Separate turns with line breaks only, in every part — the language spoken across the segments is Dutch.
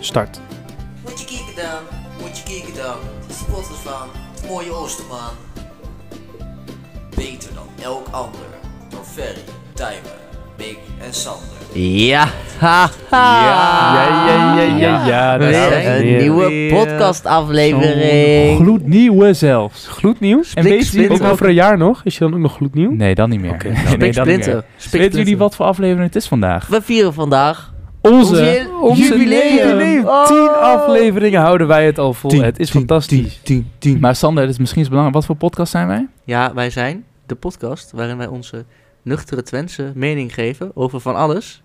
Start.
Moet je kijken dan, moet je kijken dan. Supporters van het mooie Oosterman. Beter dan elk ander. Door Ferry, Timer, Mick en Sander.
Ja, haha.
Ja, ja, ja, ja, ja.
We
daar zijn we
zijn een
weer.
nieuwe
Weer.
podcastaflevering.
Gloednieuwe zelfs.
Gloednieuw?
En weet je ook
splinter.
over een jaar nog? Is je dan ook nog gloednieuw?
Nee, dan niet meer.
Oké.
Nee,
Spik
nee,
Spik
dan niet meer.
Splinter. Spik
Weten jullie
Splinter.
wat voor aflevering het is vandaag?
We vieren vandaag
Onze,
onze jubileum. Oh.
Tien afleveringen houden wij het al vol.
Tien,
het is
tien,
fantastisch.
Maar Sander, het is misschien eens belangrijk. Wat voor podcast zijn wij?
Ja, wij zijn de podcast waarin wij onze nuchtere Twentse mening geven over van alles.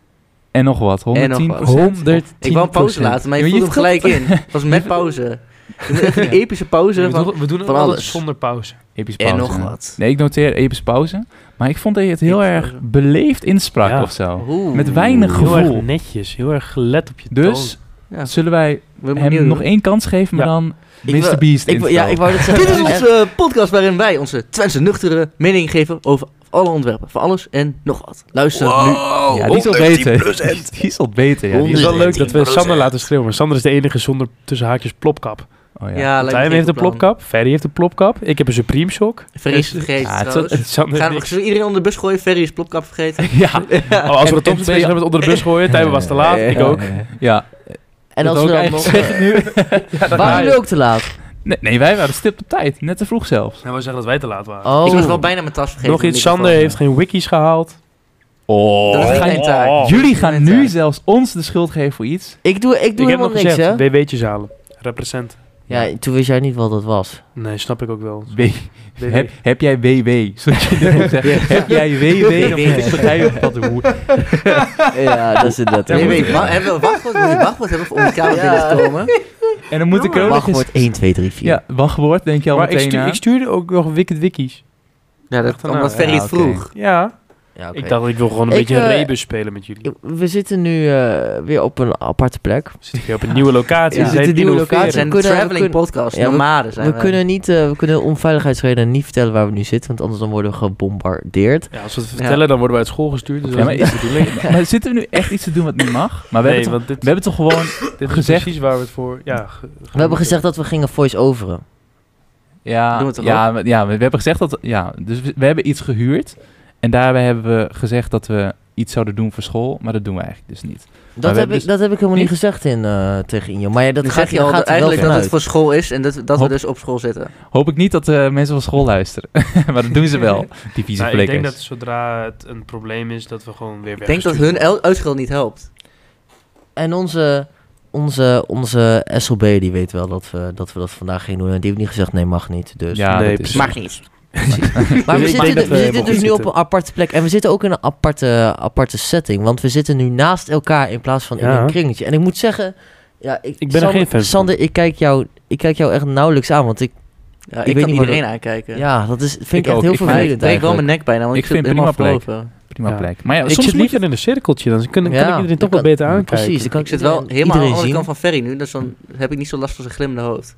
En nog wat, 110
nog wat.
110
Ik wou een pauze laten, maar je voelt hem gelijk in. Het was met pauze. Ik moet even een epische pauze
We
van
doen, we doen het
van
altijd
alles.
zonder pauze.
Episch pauze.
en nog wat.
Nee, ik noteer episch pauze. Maar ik vond dat je het heel
Epische
erg
pauze.
beleefd insprak
Ja.
of zo.
Oeh.
Met weinig
Heel erg
gevoel.
netjes, heel erg gelet op je
Dus
Oh. Ja.
zullen wij
We hebben
hem
opnieuw
nog
doen.
één kans geven, maar
Ja.
dan
Ik
Mr.
wil-
Beast
Ik, wil- ja, ik
intro.
wou dit zeggen.
Dit is onze
eh, podcast waarin wij onze Twentse nuchtere mening geven over alle onderwerpen. Van alles en nog wat. Luister nu.
Ja, die is al beter. Die is al beter, ja. Die
Het
is
is wel
al...
leuk dat we Sander laten schreeuwen. maar Sander is de enige zonder tussen haakjes plopkap.
Oh, ja.
Ja, lijkt me
Tijm
geen
heeft een
goed plan.
plopkap, Ferry heeft een plopkap, ik heb een Supreme Shock.
Ferry is
Dus-
vergeten
Ja, het is-
trouwens.
Sander
Gaan we,
niks.
zullen we iedereen onder de bus gooien? Ferry is plopkap vergeten.
Ja.
Oh, als we dat
En-
toch
en
bezig
twee-
hebben met onder de bus gooien, Tijmen was te laat, ik ook.
Ja.
En
Dat
als
ook
we dan nog...
eigenlijk zeggen nu.
Waren jullie ook te laat?
Nee, nee, wij waren stipt op tijd. Net te vroeg zelfs.
Nou, we zeggen dat wij te laat waren.
Oh. Ik was wel
nog
bijna mijn tas vergeten. met
iets,
de
Sander heeft
microfoon.
geen wikis gehaald.
Oh.
Dat is
Ga je-
geen taak.
Oh.
Jullie
Dat is
gaan
geen
nu
taak.
zelfs ons de schuld geven voor iets.
Ik doe, ik doe
ik heb
helemaal
nog
niks,
gezegd,
hè?
BW'tjes halen. Represent.
Ja, toen wist jij niet wat dat was.
Nee, snap ik ook wel.
W- heb, heb jij WW? Zodat je dit moet zeggen. Heb jij WW? Dan moet ik begrijpen wat er moet.
Ja, dat is inderdaad.
Ja,
Nee,
moet-
weet je, wa- hebben we een wachtwoord? Moet je een wachtwoord hebben om de kamer binnen te komen?
En dan moet ik er ook nog eens...
Wachtwoord 1, 2, 3, 4.
Ja, wachtwoord denk je al
Maar ik,
meteen
stuur,
aan.
ik stuurde ook nog wicked wikkies.
Ja, dat,
Achterna.
omdat Ferry
eh, Ja,
het
oké.
vroeg.
Ja,
Ja, oké.
ik dacht ik wil gewoon een
Ik,
beetje een
eh,
rebus spelen met jullie.
We zitten nu eh, weer op een aparte plek.
Zit ik weer op een nieuwe
Dus
locatie.
Ja.
we
Zit
zijn
een nieuwe
innoveren.
locatie.
We zijn-
Zijn
We zijn kunnen- we
traveling
kunnen-
podcast,
ja, we-
nomaden zijn
We
wij.
kunnen, niet, eh, we kunnen om veiligheidsredenen niet vertellen waar we nu zitten, want anders dan worden we gebombardeerd.
Ja, als we het vertellen, dan worden wij uit school gestuurd. Dus
Ja,
dat
maar
is niet de bedoeling.
Maar zitten we nu echt iets te doen wat niet mag? Maar we,
Nee,
hebben, toch,
want dit,
we hebben toch gewoon...
dit is
gezegd-
precies waar we het voor... Ja, ge-
We hebben gezegd dat we gingen voice-overen.
Ja,
Doen we toch
ja, we- ja, we we hebben gezegd dat... Ja, dus we, we hebben iets gehuurd. En daarbij hebben we gezegd dat we iets zouden doen voor school. Maar dat doen we eigenlijk dus niet.
Dat,
we
heb,
hebben
ik,
dus
dat heb ik helemaal niet
niet-
gezegd in, eh, tegen Injo. Maar ja, dat
Dan
gaat,
zeg je al
gaat
dat
er wel
eigenlijk dat het
vanuit.
voor school is en dat, dat we
Hop.
dus op school zitten.
Hoop ik niet dat eh, mensen van school luisteren. maar dat doen ze wel, die vieze
Nou, ik denk dat
flikkers.
zodra het een probleem is, dat we gewoon weer
Ik denk dat hun el- uitschil niet helpt.
En onze, onze, onze SLB die weet wel dat we, dat we dat vandaag gingen doen. En die heeft niet gezegd, nee, mag niet. Dus.
Ja,
Nee,
dat is-
precies.
Mag niet.
Maar we
Dus ik
zitten,
denk dat
we
we
zitten
helemaal
dus
goed
nu op een
zitten.
aparte plek. En we zitten ook in een aparte, aparte setting. Want we zitten nu naast elkaar in plaats van in
Ja.
een kringetje. En ik moet zeggen... Ja, ik,
Ik ben er
Sander,
geen fan van.
Sander, ik kijk, jou, ik kijk jou echt nauwelijks aan. Want ik,
Ja, ik,
weet
kan
niet
iedereen
wat
aankijken.
ja, dat is, vind ik,
Ik
echt
ook.
heel
Ik
Maar
vind-
ik
vervelend
breek wel mijn
eigenlijk.
nek bijna, want
Ik
ik, zit
vind
helemaal
prima plek.
verlopen.
Prima
Ja.
plek. Maar ja,
ik
soms
zit
moet je-
liever in een cirkeltje, dan kan, kan
Ja,
ik iedereen
dan
toch wel
kan-
beter aankijken.
Precies, dan kan
Ik zit wel
iedereen-
helemaal aan de
iedereen
andere
zien.
kant van Ferry nu, dus dan heb ik niet zo last van zijn glimmende hoofd.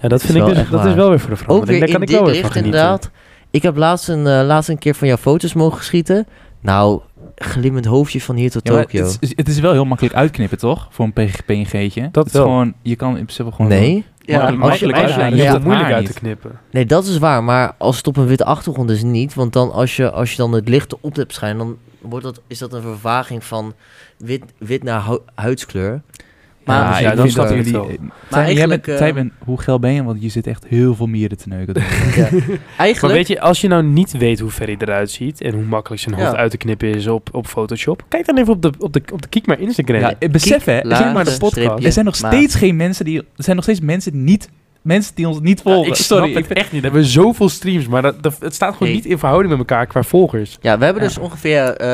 Ja, dat vind
is
ik
wel
dus,
echt
dat is
waar.
wel weer voor de
Ook
verandering. Daar
weer in
kan ik
dit
wel weer van
licht
genieten.
inderdaad. Ik heb laatst een, eh, laatst een keer van jouw foto's mogen schieten. Nou, glimmend hoofdje van hier tot
Ja, maar
Tokio.
het, is, het is wel heel makkelijk uitknippen, toch? Voor een PG PNG'tje.
Dat
is
wel.
gewoon, je kan in principe gewoon...
Nee?
Ja,
Ja,
Makkelijk-
als je
makkelijk
mijn
uitlijnen.
haar
Je
is
heel
hoeft het
moeilijk
haar
uit te
niet.
knippen.
Nee, dat is waar. Maar als het op een witte achtergrond is, niet. Want dan als je, als je dan het licht op hebt schijnen, dan wordt dat, is dat een vervaging van wit, wit naar hu- huidskleur.
Maar-
ja,
Ja, dan
ik vind
snap
dat
ik het
jullie...
wel.
eh,
Maar
Tijmen, jij bent-
eigenlijk, eh,
Tijmen, hoe geil ben je? Want je zit echt heel veel mieren te neuken.
Maar
Oh, eigenlijk
weet je, als je nou niet weet hoe Ferry eruit ziet en hoe makkelijk zijn hoofd
Ja.
uit te knippen is op, op Photoshop, kijk dan even op de, op de, op de Kiek maar Instagram.
ja, eh, besef hè, er,
laag,
zijn maar de
eh,
podcast.
streepje,
er zijn nog
maar-
steeds geen mensen die... Er zijn nog steeds mensen die niet... Mensen die ons niet volgen.
ik snap
Sorry,
het
ik ben-
echt niet. We hebben zoveel streams, maar dat, dat- het staat gewoon
Nee.
niet in verhouding met elkaar qua volgers.
Ja, we hebben
Ja.
dus ongeveer, eh,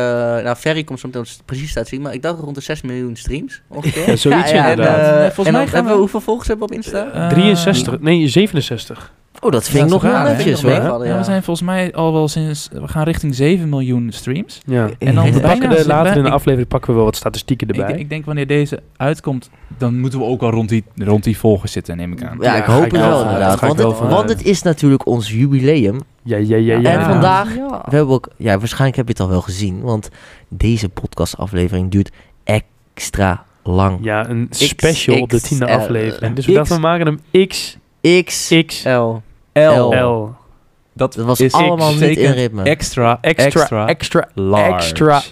nou Ferry komt zo meteen op het precies staat zien, maar ik dacht rond de 6 miljoen streams ongeveer.
Ja, zoiets
en,
inderdaad.
eh,
Nee, volgens
en dan
mij gaan
hebben
we-
we hoeveel volgers hebben we op Insta?
Eh,
63, nee 67.
Oh, dat
Ja,
vind ik nog
dat is
wel
raar, hè?
netjes
Vind ik
hoor.
nog
Ja, we zijn volgens mij al wel sinds... We gaan richting 7 miljoen streams.
Ja.
En dan
We
bijna
pakken de,
zijn
later
wij-
in de
ik-
aflevering pakken we wel wat statistieken erbij.
Ik, ik denk wanneer deze uitkomt, dan moeten we ook al rond die, rond die volgers zitten, neem ik aan.
Ja,
Ja,
ik
ga
hoop
ik
het
wel
wel
vanuit.
inderdaad.
Ga ik
Want
wel
het,
vanuit.
want het is natuurlijk ons jubileum.
ja, ja, ja, ja.
En
ja.
vandaag,
Ja.
we hebben ook, ja, waarschijnlijk heb je het al wel gezien, want deze podcastaflevering duurt extra lang.
Ja, een special op de tiende
XXL.
aflevering. Dus we dachten, we maken hem XXL.
X, L. L.
Dat,
Dat was
is
allemaal niet in
betekent
ritme.
Extra,
Extra,
extra,
extra, extra,
large.
extra,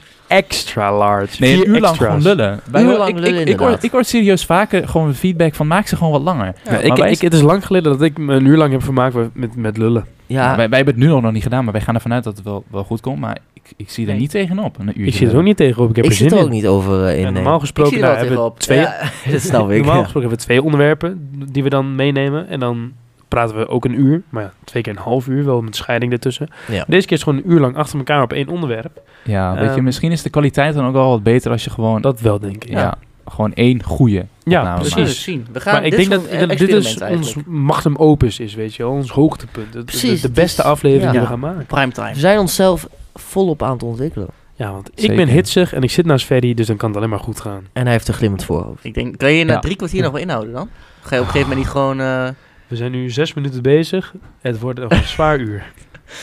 large.
Nee,
Vier
een uur lang
extra's.
gewoon lullen.
Uur
horen-
lang
ik- ik-
lullen,
ik, hoor,
inderdaad.
ik hoor serieus vaker gewoon feedback van maak ze gewoon wat langer.
Nou,
maar
ik,
wij-
ik, het is lang geleden dat ik me een uur lang heb vermaakt met- met, met lullen.
ja,
Wij, wij hebben het nu nog niet gedaan, maar wij gaan ervan uit dat het wel, wel goed komt. Maar ik, ik zie er
Nee.
niet tegenop. Een uurtje
Ik zit er ook
lullen.
niet tegenop. Ik heb
ik
er zin
zit er ook
in.
niet over eh, in.
En
nee.
normaal
Ik zie
gesproken
er wel
nou, hebben we
tegenop.
twee,
Ja, dat snap ik.
normaal
ja.
gesproken hebben we twee onderwerpen die we dan meenemen. En dan praten we ook een uur. Maar ja, twee keer een half uur, wel met scheiding ertussen.
Ja.
Deze keer is het gewoon een uur lang achter elkaar op één onderwerp.
Ja, weet je,
Ehm,
misschien is de kwaliteit dan ook wel wat beter als je gewoon,
Dat wel, denk ik.
ja, gewoon één goede.
Ja, nou,
opname
We
precies.
zullen het zien. We gaan,
maar ik
dit
denk
is
dat,
gewoon een
dat dit is
experiment
ons
eigenlijk.
magnum opus is, weet je wel. Ons hoogtepunt. De, de-
Precies,
de
het
beste
is-
aflevering
ja.
die we gaan maken.
We
primetime.
zijn onszelf volop aan het ontwikkelen.
Ja, want ik
Zeker.
ben hitsig en ik zit naast Ferry, dus dan kan het alleen maar goed gaan.
En hij heeft een glimmend voorhoofd.
Ik denk, kan je je na
Ja.
drie kwartier nog wel inhouden dan? Ga je op een gegeven moment niet gewoon... eh,
We zijn nu zes minuten bezig. Het wordt nog een zwaar uur.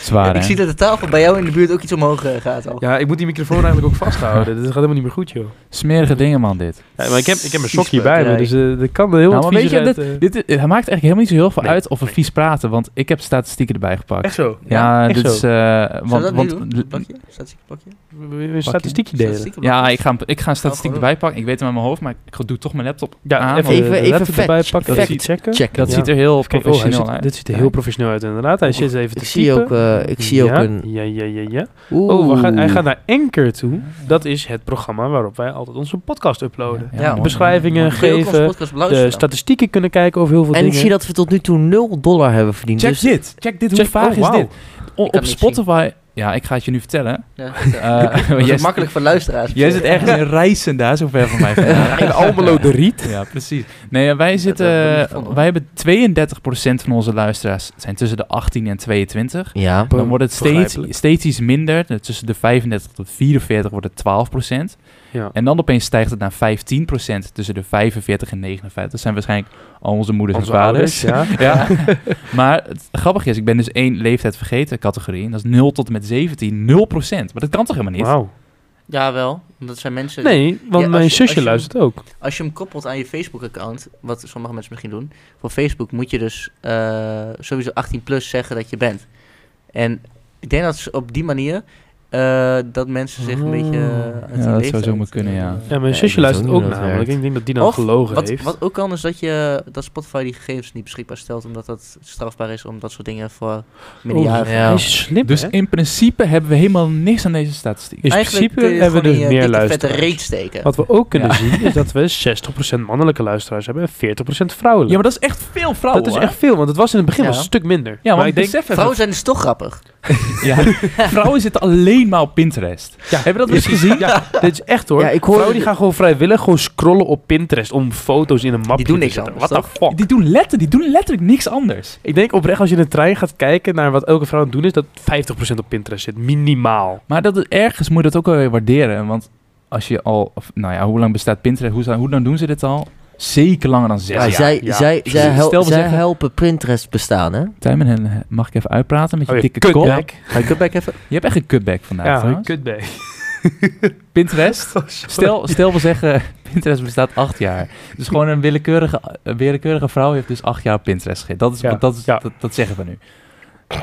Zwaar,
ik
hè?
zie dat de tafel bij jou in de buurt ook iets omhoog eh, gaat al.
Ja, ik moet die microfoon eigenlijk ook vasthouden. Dit gaat helemaal niet meer goed, joh.
Smerige dingen, man, dit.
Ja, maar ik heb, ik heb mijn sokje
Vies
bij me,
peuk,
dus eh dat kan er heel
Nou,
wat
maar
vies
weet je,
uit. eh.
Dit, het maakt eigenlijk helemaal niet zo heel veel
Nee.
uit of we vies praten, want ik heb statistieken erbij gepakt.
Echt zo?
ja,
echt
dit
zo.
is... eh,
Zullen
want,
we dat
want,
nu doen? Blokje? Statistiek blokje?
We- we- we een statistiekje delen.
Statistieken
ja,
blokje?
ik ga, ik ga een statistiek
gewoon
erbij pakken. Ik weet hem uit mijn hoofd, maar ik ga- doe toch mijn laptop aan.
Ja, even,
want
Ah, Even-
de
even
laptop
fact-
erbij pakken.
fact
Dat checken.
Check.
dat
Ja.
ziet er heel
Kijk, oh, hij
professioneel
ziet-
uit.
dit ziet er
Ja.
heel professioneel uit, inderdaad. Hij zit even te
Oh, Ik zie
typen.
ook, eh, ik
Ja,
zie ook een...
Ja, ja, ja, ja.
Oeh.
Oh, we gaan, hij gaat naar Anchor toe. Dat is het programma waarop wij altijd onze podcast uploaden.
Ja,
mooi,
beschrijvingen,
mooi, mooi.
Kun je ook onze
geven,
podcast
De
beluisteren?
statistieken kunnen kijken over heel veel
En ik
dingen.
zie dat we tot nu toe 0 dollar hebben verdiend.
Check
dus
dit. Check dit. Hoe
Check-
vaag
oh,
is
wauw.
dit? O-
Ik kan
op
niks zien.
Spotify... Ja, ik ga het je nu vertellen.
Ja,
Eh,
Dat is
jij,
ook makkelijk voor luisteraars.
jij zit ergens in Rijssen daar, zo ver van mij. vandaan.
In Almelo de Riet.
Ja, precies. Nee, ja, wij, zitten,
hebben we niet gevonden,
wij hebben 32% van onze luisteraars zijn tussen de 18 en 22.
Ja.
Dan wordt het steeds,
Begrijpelijk.
steeds iets minder. De- Tussen de 35 tot 44 wordt het 12%.
Ja.
En dan opeens stijgt het naar 15% tussen de 45 en 59. Dat zijn waarschijnlijk al onze moeders
Onze
en vaders.
ouders, ja.
Ja, maar het grappige is, ik ben dus één leeftijd vergeten categorie. En dat is 0 tot en met 17, 0%. Maar dat kan toch helemaal niet?
Wauw.
Jawel, dat zijn mensen...
Nee, want
Ja,
mijn
als je-
zusje
als je-
luistert ook.
Als je hem koppelt aan je Facebook-account, wat sommige mensen misschien doen, voor Facebook moet je dus eh, sowieso 18 plus zeggen dat je bent. En ik denk dat ze op die manier eh, dat mensen zich een beetje. eh, uit die
Oh. Ja, dat zou
leeftijd,
zomaar kunnen,
eh,
ja.
Ja, mijn
Ja, ik weet
zusje
ook
luistert
niet
ook
hoe dat
namelijk.
werkt.
Ik denk dat die dan
Of,
gelogen
wat,
heeft.
wat ook kan is dat, je, dat Spotify die gegevens niet beschikbaar stelt, omdat dat strafbaar is om dat soort dingen voor
ja,
minderjarigen.
ja.
Oh, Hij is slim,
Dus
hè?
in principe hebben we helemaal niks aan deze statistiek.
in
Eigenlijk
principe
kun je het
hebben we
gewoon
dus
in je
meer
dikke vette
luisteraars.
reet steken.
Wat we ook kunnen
Ja.
zien is dat we 60% mannelijke luisteraars hebben en 40% vrouwelijke.
Ja, maar dat is echt veel vrouwen.
dat is
hoor.
echt veel, want het was in het begin
Ja.
wel een stuk minder.
Ja,
maar
want
ik denk,
besef even,
Vrouwen zijn dus toch grappig.
ja, vrouwen zitten alleen maar op Pinterest.
Ja.
Hebben we dat wel eens gezien?
ja, dit is echt hoor.
Ja, ik hoor-
Vrouwen die gaan gewoon vrijwillig gewoon scrollen op Pinterest om foto's in een mapje
doen
te
niks
zetten.
anders,
What the
toch?
fuck?
Die, doen letter, die doen letterlijk niks anders.
Ik denk oprecht als je in de trein gaat kijken naar wat elke vrouw aan het doen is, dat 50% op Pinterest zit. Minimaal.
Maar dat, ergens moet je dat ook wel weer waarderen. Want als je al... Of, nou ja, hoe lang bestaat Pinterest? Hoe, zou- hoe lang doen ze dit al? Zeker langer dan zes
Maar
jaar.
zij,
ja.
zij, zij,
Stel,
hel-
we
zij
zeggen-
helpen Pinterest bestaan, hè?
Tijmen, en- eh, mag ik even uitpraten met je
Oh, je
dikke kop?
kutbek.
Ga ik back even?
Je hebt echt een cutback vandaag
Ja, een
trouwens.
kutbek.
Pinterest.
Oh,
Stel, stel we zeggen, Pinterest bestaat acht jaar. Dus gewoon een willekeurige, een willekeurige vrouw heeft dus acht jaar op Pinterest gezeten. Dat, is,
Ja,
dat, is,
ja.
dat, dat zeggen we nu.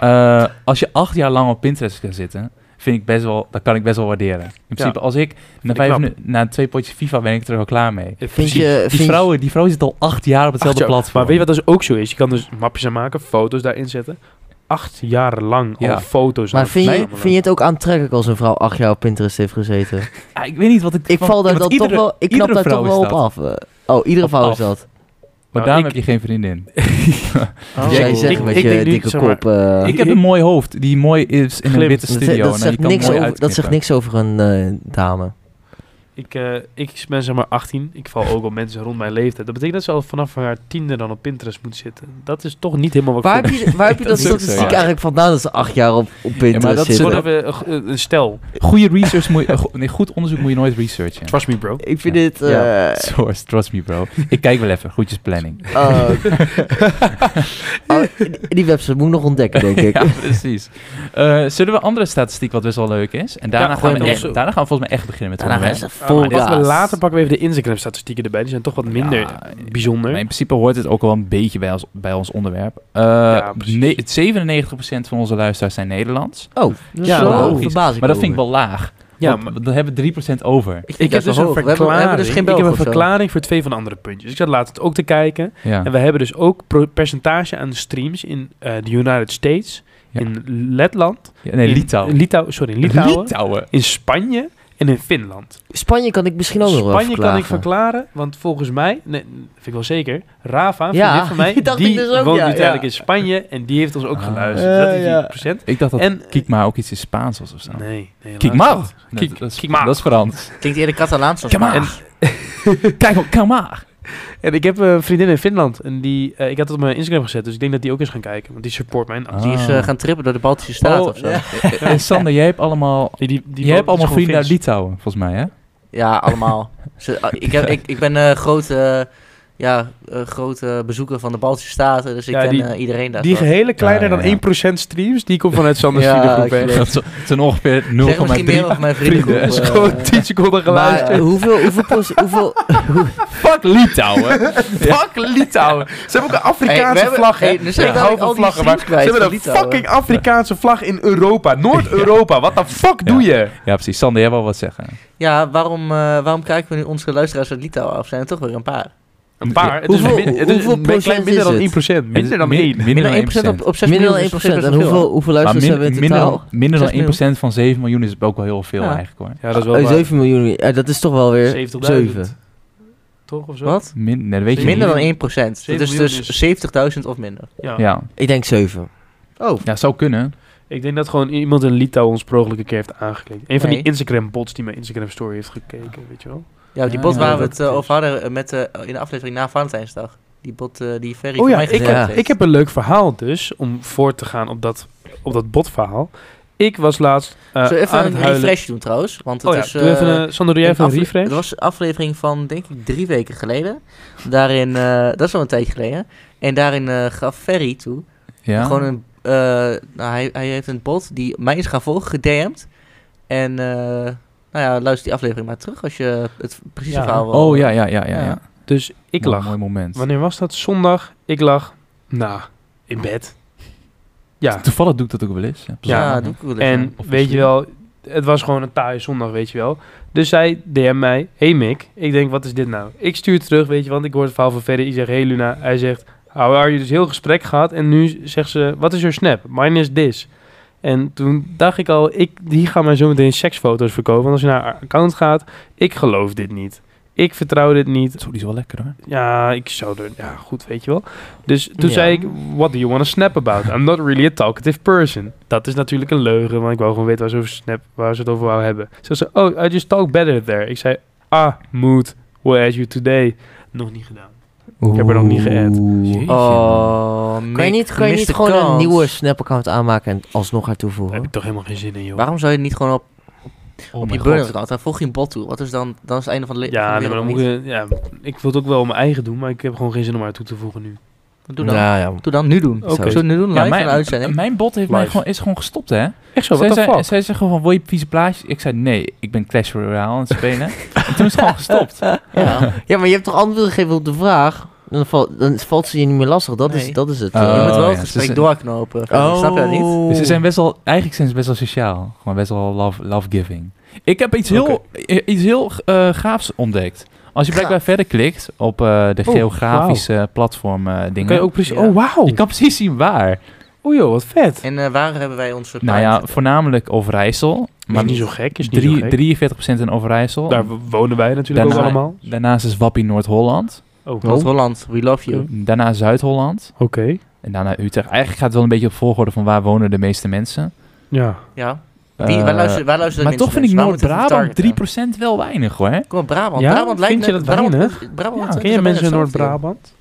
Eh, als je acht jaar lang op Pinterest kan zitten, vind ik best wel, dat kan ik best wel waarderen. In principe, als ik na,
ik
vijf,
knap.
minu- na twee potjes FIFA ben ik er wel klaar mee.
Vind je,
Die
eh, vind
vrouw, die vrouw zit al acht jaar op hetzelfde
Acht jaar.
platform.
Maar weet je wat dus ook zo is? Je kan dus mapjes aan maken, foto's daarin zetten. Acht jaar lang al
Ja.
foto's. aan
maar
het
vind je,
verzamelen.
vind je het ook aantrekkelijk als een vrouw acht jaar op Pinterest heeft gezeten?
Ah, ik weet niet wat ik...
Ik
want-
val daar
want
dan
iedere-
toch wel... Ik knap
iedere
daar toch
vrouw
wel op
is dat.
af. eh. Oh, iedere
Op
vrouw is
af.
dat.
Maar
Nou,
daarom
ik-
heb je geen vriendin.
Oh.
Jij
ik-
zegt
ik-
met
ik
je
denk nu,
dikke
zeg maar,
kop... eh,
ik heb een mooi hoofd, die mooi is in een
Glimt.
witte
dat-
studio.
dat,
en
zegt
je kan
niks
mooi
over, dat zegt
uitknippen.
niks over een eh, dame.
Ik, eh, ik ben zeg maar 18. Ik val ook op mensen rond mijn leeftijd. Dat betekent dat ze al vanaf haar tiende dan op Pinterest moet zitten. Dat is toch niet helemaal wat
Waar
ik
heb je, waar heb je dat
is ook zo,
statistiek
ja.
eigenlijk vandaan dat ze acht jaar op, op Pinterest
dat is-
vind. Gewoon
zitten?
even eh, g- eh, een stel.
Goede research moet je, eh, go- nee, goed onderzoek moet je nooit researchen.
Trust me bro.
Ik vind dit... eh
Ja.
Source, trust me bro. Ik kijk wel even, goedjes planning.
oh. Oh, die- die website moet ik nog ontdekken, denk ik.
ja, precies. Eh, zullen we andere statistiek, wat best wel leuk is? En daarna,
Ja,
gaan,
gewoon
we echt,
onze-
daarna gaan we volgens mij echt beginnen met
Daarna
het
gaan
onderwerp.
ze
Ah, maar dit-
podcast.
Later pakken we even de Instagram-statistieken erbij. Die zijn toch wat minder
Ja,
bijzonder.
Maar in principe hoort het ook wel een beetje bij ons, bij ons onderwerp. Eh
precies.
ne- het 97% van onze luisteraars zijn Nederlands.
Oh,
Ja,
ja,
logisch.
verbaas ik
Maar dat
me
vind ik wel laag.
ja,
want
maar
dan hebben we 3% over.
Ik, vind
ik heb
juist
dus
wel
een
hoog. We hebben,
verklaring.
we hebben dus geen
ik
Belgen
heb een
of zo.
verklaring voor twee van de andere puntjes. Ik zat laatst ook te kijken.
Ja.
En we hebben dus ook pro- percentage aan streams in eh, de United States,
Ja.
in Letland,
Ja, nee,
in
Litouwen.
Litouw, sorry, in Litouwen,
Litouwen.
in Spanje en in Finland.
Spanje kan ik misschien ook nog wel
Spanje kan ik
verklagen.
verklaren, want volgens mij, nee, vind ik wel zeker, Rafa,
Ja,
vriendin van mij,
die dacht
die
ik dus ook,
woont
ja,
nu tijdelijk
ja.
in Spanje en die heeft ons ook
Ah.
geluisterd.
Eh,
dat is die
ja.
procent.
Ik dacht dat
En, eh,
Kiekma ook iets in Spaans was of zo.
Nee, nee
Kiekma.
helaas niet. Nee,
Kiek- dat, is-
Kiekma.
dat is Frans.
Klinkt eerder Catalaans dan
Come on.
Spaans.
Kijk op, Kiekma.
En ik heb eh, een vriendin in Finland en die, eh, ik had het op mijn Instagram gezet, dus ik denk dat die ook eens gaan kijken, want die support mijn
Ah.
Die is eh, gaan trippen door de Baltische Staten
Oh,
of zo.
ja.
Ja,
En Sander, jij hebt allemaal,
Die, die, die
jij hebt
woont-
allemaal
is gewoon
vrienden uit
Fins.
Litouwen, volgens mij, hè?
allemaal. Ze- ah, ik, heb, ik, ik ben eh grote, eh, ja, eh, grote bezoeker van de Baltische Staten, dus ik
Ja,
ken
die-
eh, iedereen daar.
Die
wel.
gehele kleiner
Ja, ja, ja.
dan 1% streams, die komt vanuit Sanders
Ja,
vriendengroep. hè.
ik
Dat is- het zijn ongeveer 0,3.
Zeg misschien meer over mijn
Vrienden, dat
vriendengroep.
is
eh,
gewoon 10 seconden
Maar
geluisterd.
eh, hoeveel, hoeveel, procent- hoeveel,
Fuck Litouwen.
Fuck Litouwen. Ze hebben ook een
Hey, we
Afrikaanse
hebben-
vlag, hè?
hey, dus
Ja.
ik
ik
ben
hou
al
van
die
vlaggen, maar ze
streams kwijt
hebben
van
een
Litouwen.
fucking Afrikaanse vlag in Europa. Noord-Europa. Wat de fuck doe je?
Ja, precies. Sander, jij wil wat zeggen.
Ja, waarom, eh, waarom kijken we nu onze luisteraars uit Litouwen af? Zijn er toch weer een paar?
Een paar. Het is,
Hoeveel-
min- het is
hoeveel
een klein
procent
minder
is
dan
het?
1%. Minder dan
Min-
1.
Minder dan 1%.
op, op 6
minder
miljoen
dan
is
1%?
nog steeds best
En
wel veel.
hoeveel, hoeveel
Maar
luisteraars
min-
hebben we in
minder,
totaal?
dan, minder dan
Zes miljoen.
1% van 7 miljoen is ook wel heel veel
Ja.
eigenlijk hoor.
Ja, dat is
Oh, 7 miljoen, eh, dat is toch wel weer
70.000.
7.
Toch of zo?
Wat?
Min, nee, dat weet je
Minder
niet.
dan 1%. Dat is
miljoen
dus 70.000 of minder.
Ja.
Ja.
Ik denk 7. Oh.
ja, zou kunnen.
Ik denk dat gewoon iemand in Litouwen ons per ongeluk een keer heeft aangeklikt. Een van die
Nee.
Instagram-bots die mijn Instagram-story heeft gekeken, weet je wel.
Ja, die
Ja,
bot
ja,
waar
dat
we het eh,
is.
over hadden eh, met, eh, in de aflevering na Valentijnsdag. Die bot, eh, die Ferry
Oh
van
ja,
mij
ik,
gekregen
heb,
heeft.
ik heb een leuk verhaal dus, om voor te gaan op dat, op dat botverhaal. Ik was laatst eh,
Zullen we even
aan het
een
huilen.
refresh doen trouwens? Want het
oh ja,
is...
doe even,
eh,
een- Sander, doe jij even een
afle-
refresh?
Dat was een aflevering van, denk ik, drie weken geleden. Daarin, eh, dat is al een tijdje geleden. En daarin eh, gaf Ferry toe.
Ja.
Gewoon een, eh, nou, hij, hij heeft een bot die mij is gaan volgen, gedM'd. En, eh, nou ja, luister die aflevering maar terug als je het precieze
Ja.
verhaal wil.
Oh ja, ja, ja, ja. ja.
Ja.
Dus ik
Nou,
Mooi-
lag.
Mooi moment.
Wanneer was dat? Zondag. Ik lag, nou, in bed. Ja,
Toevallig doe ik dat ook wel eens.
Ja,
Ja.
doe ik wel eens,
en
of
weet je
misschien.
wel, het was gewoon een taaie zondag, weet je wel. Dus zij DM mij, hey Mick. Ik denk, wat is dit nou? Ik stuur terug, weet je, want ik hoor het verhaal van verder. Ik zeg, hey Luna. Hij zegt, how are you? Dus heel gesprek gehad. En nu zegt ze, wat is your snap? Mine is this. En toen dacht ik al, ik, die gaan mij zo meteen seksfoto's verkopen. Want als je naar haar account gaat, ik geloof dit niet. Ik vertrouw dit niet.
Zo, die is wel lekker hoor.
Ja, ik zou er... Ja, goed, weet je wel. Dus toen
Ja.
zei ik, what do you want to snap about? I'm not really a talkative person. Dat is natuurlijk een leugen, want ik wou gewoon weten waar ze, over snap, waar ze het over wou hebben. Ze zei, oh, I just talk better there. Ik zei, ah, mood, where are you today? Nog niet gedaan. Ik heb er nog niet geëd.
Jeetje, man.
Oh,
Kan je niet, kan je niet gewoon een nieuwe Snap-account aanmaken en alsnog haar
Daar heb ik
toevoegen?
toch helemaal geen zin in, joh.
Waarom zou je niet gewoon op,
Oh
op
mijn
je
god.
burner account? Daar volg je een bot toe. Wat is dan, dan is het einde van de le-
Ja,
van de
nee, maar
wereld
dan moet
niet.
je, ja, ik wil het ook wel mijn eigen doen, maar ik heb gewoon geen zin om haar toe te voegen nu.
Doe dan.
Ja, ja.
Doe dan, nu doen.
Oké.
Zullen we nu doen? Live
Ja,
een
mijn,
uitzending?
mijn bot heeft mij
Live.
gewoon, is gewoon gestopt, hè?
Echt zo,
zij,
wat de
zei,
fuck?
zij zeggen gewoon, wil je vieze plaatjes? Ik zei, nee, ik ben Clash Royale aan het spelen. en toen is het gewoon gestopt.
Ja.
Ja, maar je hebt toch antwoord gegeven op de vraag? Dan, val- dan valt ze je niet meer lastig, dat,
Nee.
is, dat is het.
Eh,
Oh,
je moet wel
ja,
het
ze
gesprek
zijn-
doorknopen. Snap je dat niet?
Dus ze zijn best wel, eigenlijk zijn ze best wel sociaal. Gewoon best wel love, love-giving. Ik heb iets heel, i- iets heel eh, gaafs ontdekt. Als je blijkbaar verder klikt op eh, de
Oh,
geografische platform eh, dingen.
Kan je ook precies...
Ja.
Oh, wauw.
je kan precies zien waar.
Oh joh, wat vet.
En eh, waar hebben wij onze
Nou ja, voornamelijk Overijssel.
Maar
Maar
niet zo gek, is niet zo gek.
drie, 43% in Overijssel.
Daar wonen wij natuurlijk ook
Daarna-
allemaal.
Daarnaast is Wappie Noord-Holland.
Oh, oké. Oh.
Noord-Holland, we love you.
Daarna Zuid-Holland. En daarna Utrecht. Eigenlijk gaat het wel een beetje op volgorde van waar wonen de meeste mensen.
Ja.
Ja. Wie,
Eh,
waar luisteren, waar luisteren
maar
de
toch
minste
vind
mensen? Waar
ik
moeten we
Noord-Brabant
targeten?
3% wel weinig hoor. hè?
Kom op, Brabant.
Ja?
Brabant lijkt
Vind je
net-
dat
Brabant,
weinig?
Brabant, Brabant,
Ja.
Ken je
zijn bijna
mensen in
hetzelfde.
Noord-Brabant?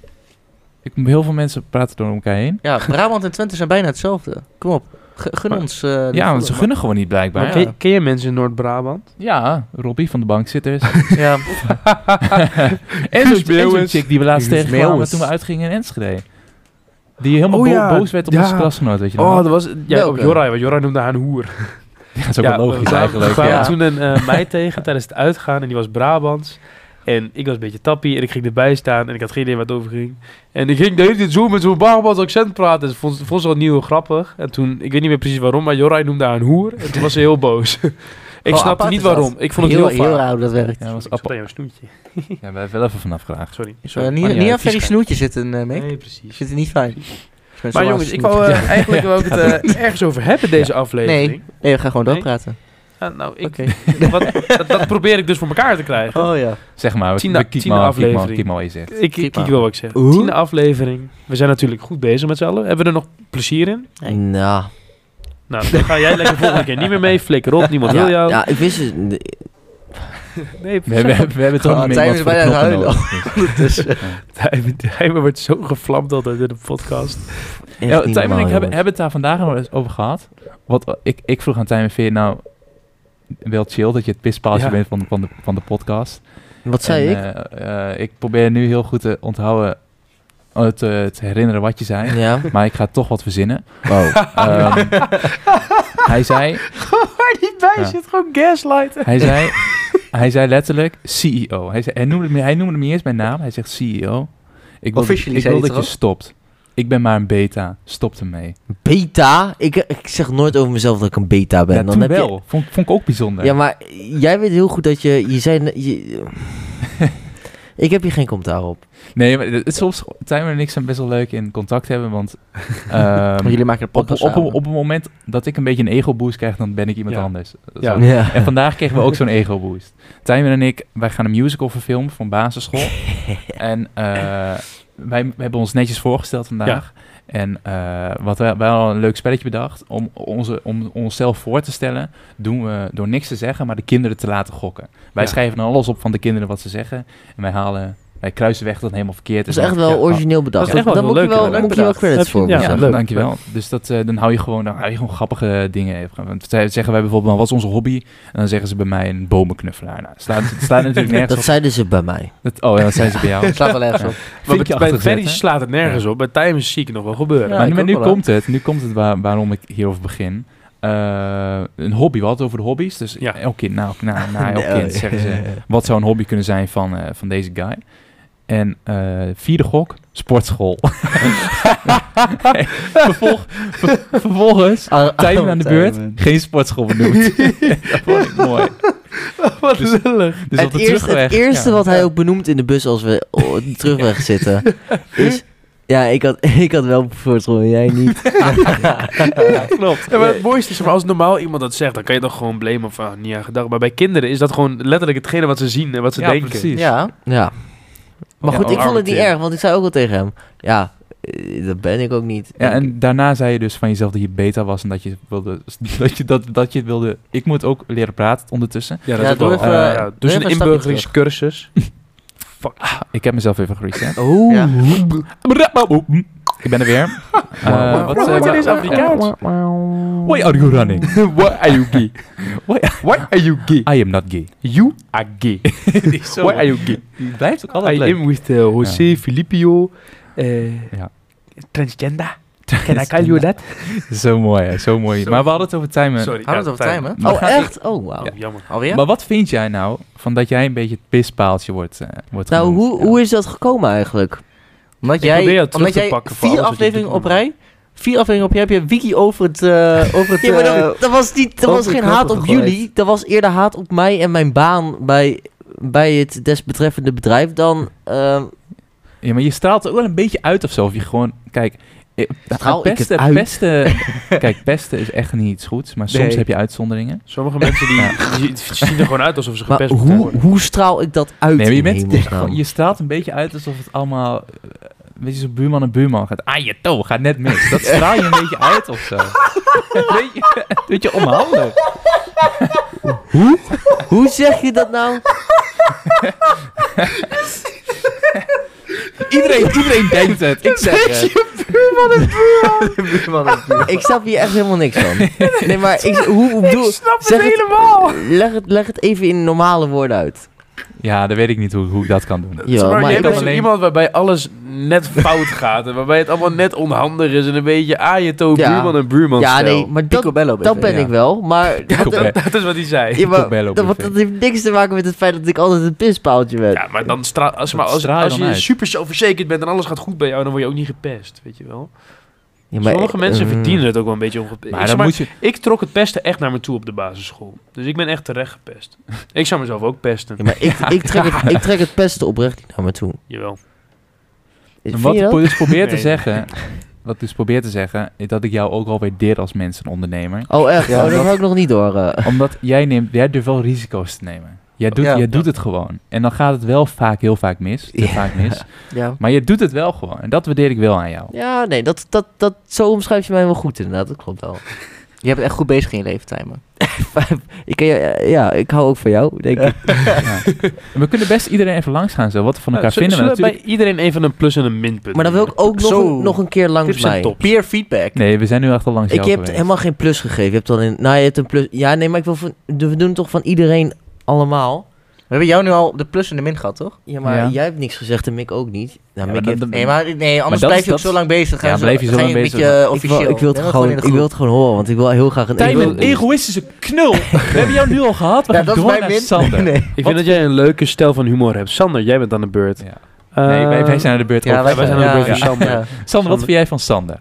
Ik, heel veel mensen praten door elkaar heen.
Ja, Brabant en Twente zijn bijna hetzelfde. Kom op, G- gun
Maar-
ons... eh, de
ja,
volle
want ze
man.
gunnen gewoon niet blijkbaar.
Maar
Ja.
ken, ken je mensen in Noord-Brabant?
Ja, Robbie van de bankzitters.
Ja,
en
Guus
zo'n en zo'n
Meeuwis.
chick die we laatst
Guus
tegenkwamen
Meeuwis.
toen we uitgingen in Enschede. Die helemaal
Oh
bo-
ja,
boos werd op
ja.
onze klasgenoot, weet je nog?
Oh, dat was... Ja,
Welke?
op Jorra, want Jorra noemde haar een hoer.
dat is ook wel logisch
we, kwamen-
eigenlijk.
We kwamen
ja.
toen een eh, meid tegen tijdens het uitgaan en die was Brabants. En ik was een beetje tappie en ik ging erbij staan en ik had geen idee waar het over ging. En ik ging de hele tijd zo met zo'n Brabants accent praten. Dus vond, vond ze wel nieuw en grappig. En toen, ik weet niet meer precies waarom, maar Jorij noemde haar een hoer. En toen was ze heel boos. ik
Oh,
snapte
apart
niet
is dat.
waarom. Ik vond het heel,
heel,
vaag.
raar hoe dat werkt.
Ja, dat was
Ik zat
appel.
aan jouw snoetje.
Ja, we hebben even vanaf graag.
Sorry.
Eh,
Sorry.
niet
Maar niet
niet aan
uit,
Ferry's
vies-
snoetje zitten, eh Mick.
Nee,
Ik
precies.
vind het niet fijn. ben zo
Maar
laat
jongens, ik
snoet.
wou eh, eigenlijk ook het eh, ergens over hebben deze aflevering.
Nee, nee, we gaan gewoon
Nee?
doorpraten.
Ah, nou, ik,
Oké.
wat, dat, dat probeer ik dus voor elkaar te krijgen.
Oh ja.
Zeg maar, we,
Tiende-
we keep
tiende
maar, keep maar-
aflevering.
keep maar wat je zegt.
Ik, ik,
maar.
ik wil wat ik zeggen.
Oeh.
Tiende aflevering. We zijn natuurlijk goed bezig met z'n allen. Hebben we er nog plezier in?
Nee.
Nou,
Nou, dan ga jij lekker volgende keer niet meer mee. Flikker op, niemand wil
ja,
jou.
ja, ik wist het.
Nee,
We, hebben- we hebben toch
Oh,
niet meer
Tijmen
iemand
is
voor de
bijna aan het
knoppen nodig.
Ondertussen.
Tijmen Tijmen wordt zo gevlamd altijd in de podcast.
Echt
Ja,
niet
Tijmen en ik
normaal,
hebben,
jongens.
hebben het daar vandaag al eens over gehad. Wat, eh, ik, ik vroeg aan Tijmen, vind je het nou wel chill dat je het pispaaltje
Ja.
bent van de, van, de, van de podcast?
Wat zei
En,
ik?
eh, eh, ik probeer nu heel goed te onthouden, eh, te, te herinneren wat je zei.
Ja.
Maar ik ga toch wat verzinnen.
Wow.
Ehm, hij zei,
Waar die bij
Ja.
zit, gewoon gaslighten.
hij zei, hij zei letterlijk CEO. Hij, zei, hij, noemde, me- hij noemde me niet eens mijn naam. Hij zegt CEO. Ik wil,
Officially
ik
zei
wil
hij
dat je
toch
stopt. Ik ben maar een beta. Stop ermee.
Beta? Ik, ik zeg nooit over mezelf dat ik een beta ben.
Ja,
Dan
toen
heb je-
wel. Vond, vond ik ook bijzonder.
Ja, maar jij weet heel goed dat je... je, zei, je ik heb hier geen commentaar op.
Nee, maar het, soms, Timer en ik zijn best wel leuk in contact hebben, want ehm,
Want jullie maken de
op, op,
podcast
op,
samen.
op het moment dat ik een beetje een ego-boost krijg, dan ben ik iemand
Ja.
anders. Dat
Ja.
is ook- En vandaag kregen we ook zo'n ego-boost. Timer en ik, wij gaan een musical verfilmen van basisschool. en eh, wij, wij hebben ons netjes voorgesteld vandaag. En eh, wat wij, wij hadden een leuk spelletje bedacht, om, onze, om onszelf voor te stellen, doen we door niks te zeggen, maar de kinderen te laten gokken. Wij
Ja.
schrijven dan alles op van de kinderen wat ze zeggen. En wij halen... Wij kruisen weg dat het helemaal verkeerd
Dat
is.
is echt
Maar-
wel
Ja.
origineel bedacht.
Dat is echt wel
Dan
heel
moet je
leuk,
wel,
inderdaad.
moet je wel
Heb
credits
je-
voor
ja,
mezelf.
Ja,
leuk.
dankjewel. Dus dat, eh, dan, hou je gewoon, dan hou je gewoon grappige dingen even. Want ze- zeggen wij bijvoorbeeld, nou, wat is onze hobby? En dan zeggen ze bij mij een bomenknuffelaar. Nou, slaat, het slaat natuurlijk nergens
Dat
op.
zeiden ze bij mij.
Dat- oh, ja, dat zijn ze bij jou.
Het slaat wel ergens
Ja.
op.
Maar
Vinkje
bij
achter
Ferry
gezet, hè?
slaat het nergens op. Bij Tijmen zie ik het nog wel gebeuren.
Ja.
maar nu,
ik
maar
ook
nu
wel, hè.
komt het. Nu komt het waar- waarom ik hierover begin. Eh, een hobby, we hadden het over de hobby's. Dus
Ja.
elk kind, nou, nou, nou elk
Nee.
kind zeggen ze, wat zou een hobby kunnen zijn van, eh, van deze guy? En eh, vierde gok, sportschool. Vervolg, ver- vervolgens Tijmen aan de beurt, geen sportschool benoemd. dat vond ik mooi.
Wat
Dus-
lullig.
Dus op
het,
de
eerste,
terugweg,
het eerste
ja.
wat hij ook benoemt in de bus als we op de terugweg zitten, is... Ja, ik had, ik had wel voortrol, jij niet.
Klopt. Ja, maar het mooiste is, maar als normaal iemand dat zegt, dan kan je toch gewoon blamen of ah, niet aan gedacht. Maar bij kinderen is dat gewoon letterlijk hetgene wat ze zien en wat ze
Ja,
denken.
precies.
Ja.
Ja. Maar
Ja,
goed, ik
arme
vond het niet
kind.
erg, want ik zei ook al tegen hem... Ja, eh, dat ben ik ook niet.
Ja, en daarna zei je dus van jezelf dat je beta was en dat je wilde, dat je dat, dat je het wilde. Ik moet ook leren praten ondertussen.
Ja,
dat Ja, is ook doe wel- even-
Eh, ja,
doe
dus
even
een
een stapje
inburgeringscursus. Fuck.
Ik heb mezelf even gereset.
Oeh.
Ja.
Ik ben er weer. Eh,
Waarom
eh,
word je ineens Afrikaans?
Why are you running?
Why are you gay?
Why,
Why are you gay?
I am not gay.
You are gay. Why are you gay?
Die blijft ook
I
altijd leuk.
am with eh, José Filipio. eh,
Ja.
Transgender. Can I call you that?
Zo mooi, hè, zo mooi.
Zo.
Maar we hadden het over timen.
Hadden we het over Tijmen?
Maar
Oh,
ga ik-
echt? Oh, wauw.
Ja, jammer.
Alweer?
Maar wat vind jij nou van dat jij een beetje het pispaaltje wordt, eh wordt
Nou,
genoemd?
hoe,
Ja.
hoe is dat gekomen eigenlijk?
Omdat
probeer jou
jij,
terug
omdat
te
jij
pakken voor
vier
alles wat je
afleveringen
doet,
op
man.
rij, vier afleveringen op rij, heb je een wiki over het, eh, over het,
Ja, maar
eh,
dat, dat was, niet, dat
ook
was
de
geen
knoppen
haat op
gegooid.
jullie. Dat was eerder haat op mij en mijn baan bij, bij het desbetreffende bedrijf dan... ehm,
Ja, maar je straalt er ook wel een beetje uit of zo. Of je gewoon, kijk, eh,
Straal ik
pesten,
het uit?
pesten, kijk, pesten is echt niet iets goeds, maar soms
Nee.
heb je uitzonderingen.
Sommige mensen die, die- die zien er gewoon uit alsof ze
Maar
gepest moeten
hoe,
worden.
hoe straal ik dat uit?
Nee, maar je,
in
bent,
hemelsnaam?
je straalt een beetje uit alsof het allemaal, eh, weet je, zo'n buurman en buurman gaat, ah je toe, gaat net mis. Dat straal je een beetje uit of zo. Weet je, weet je onhandig.
Hoe zeg je dat nou?
Iedereen, iedereen denkt het, ik zeg het.
Ik snap hier echt helemaal niks van. Nee, maar ik, hoe, hoe doe,
snap
zeg het-
helemaal.
leg, het, leg het even in normale woorden uit.
Ja, dat weet ik niet hoe, hoe ik dat kan doen.
Ja,
Zeg maar,
maar
je hebt
ik
kan
dus
alleen-
iemand waarbij alles net fout gaat. En waarbij het allemaal net onhandig is. En een beetje Ajeto,
Ja.
buurman en buurman
Ja, nee, maar dat,
Picobello
dat ben
ja.
ik wel. Maar
dat,
Picobello.
dat,
dat is wat hij zei.
ja, maar
Picobello
dat, want
BV.
dat heeft niks te maken met het feit dat ik altijd een pispaaltje ben.
Ja, maar dan stra als, maar
Dat
als,
straal je
als
dan
je
uit.
super zelfverzekerd bent en alles gaat goed bij jou, dan word je ook niet gepest, weet je wel.
Ja, maar-
Sommige mensen
mm.
verdienen het ook wel een beetje om gepest.
Maar
Ik,
dan
zeg maar,
moet je...
ik trok het pesten echt naar me toe op de basisschool. Dus ik ben echt terecht gepest. ik zou mezelf ook pesten.
Ja, maar ik, ik, trek het, ik trek het pesten oprecht niet naar me toe.
Jawel.
Vind
Wat
je
ik
dat?
dus probeer te
Nee.
zeggen... Wat dus probeer te zeggen... is dat ik jou ook wel waardeer als mens en ondernemer.
Oh, echt?
Ja,
oh, dat
dat-
had ik nog niet door. eh.
Omdat jij, neemt, jij durft wel risico's te nemen. Jij doet,
Ja.
jij doet het gewoon. En dan gaat het wel vaak, heel vaak mis. Te
Ja.
vaak mis.
Ja.
Maar je doet het wel gewoon. En dat waardeer ik wel aan jou.
Ja, nee, dat, dat, dat, zo omschrijf je mij wel goed inderdaad. Dat klopt wel.
Je bent echt goed bezig in je leven, Tijmen.
ik, ken je- eh, ja, ik hou ook van jou, denk ik.
Ja. En we kunnen best iedereen even langs gaan. Zo, wat we van elkaar
Nou, zullen we
vinden. we natuurlijk...
bij iedereen even een plus en een minpunt
Maar dan wil ik ook nog,
Zo.
een, nog een keer langs
Tips en
mij.
tops.
Peer feedback.
Nee, we zijn nu echt al langs
Ik
jou
heb
geweest.
helemaal geen plus gegeven. Je hebt alleen, nou, je hebt een plus. Ja, nee, maar ik wil van, we doen het toch van iedereen allemaal.
We hebben jou nu al op de plus en de min gehad, toch?
Ja, maar
Ja.
jij hebt niks gezegd en Mick ook niet. Nou,
Ja,
Mick
maar
heeft-
dan-
Nee, maar, nee anders
dat
blijf
is-
je ook
dat-
zo lang bezig. Ga
Ja,
zo-
blijf je zo
ga
lang
een
bezig.
beetje eh,
ik wil,
officieel.
ik wil, het
Nee,
gewoon,
in de
ik wil
groep.
het gewoon horen, want ik wil heel graag een... ik wil-
Tijmen, egoïstische knul. we hebben jou nu al gehad. We
Ja,
gaan
dat is
door
mijn
naar
min.
Sander.
Nee.
Ik vind dat jij een leuke stijl van humor hebt. Sander, jij bent aan de beurt. Ehm,
Ja. Nee, wij, wij zijn aan de beurt. ook.
wij zijn aan de
ja,
beurt
ja,
van Sander.
ja.
Sander, wat
Sander.
vind jij van Sander?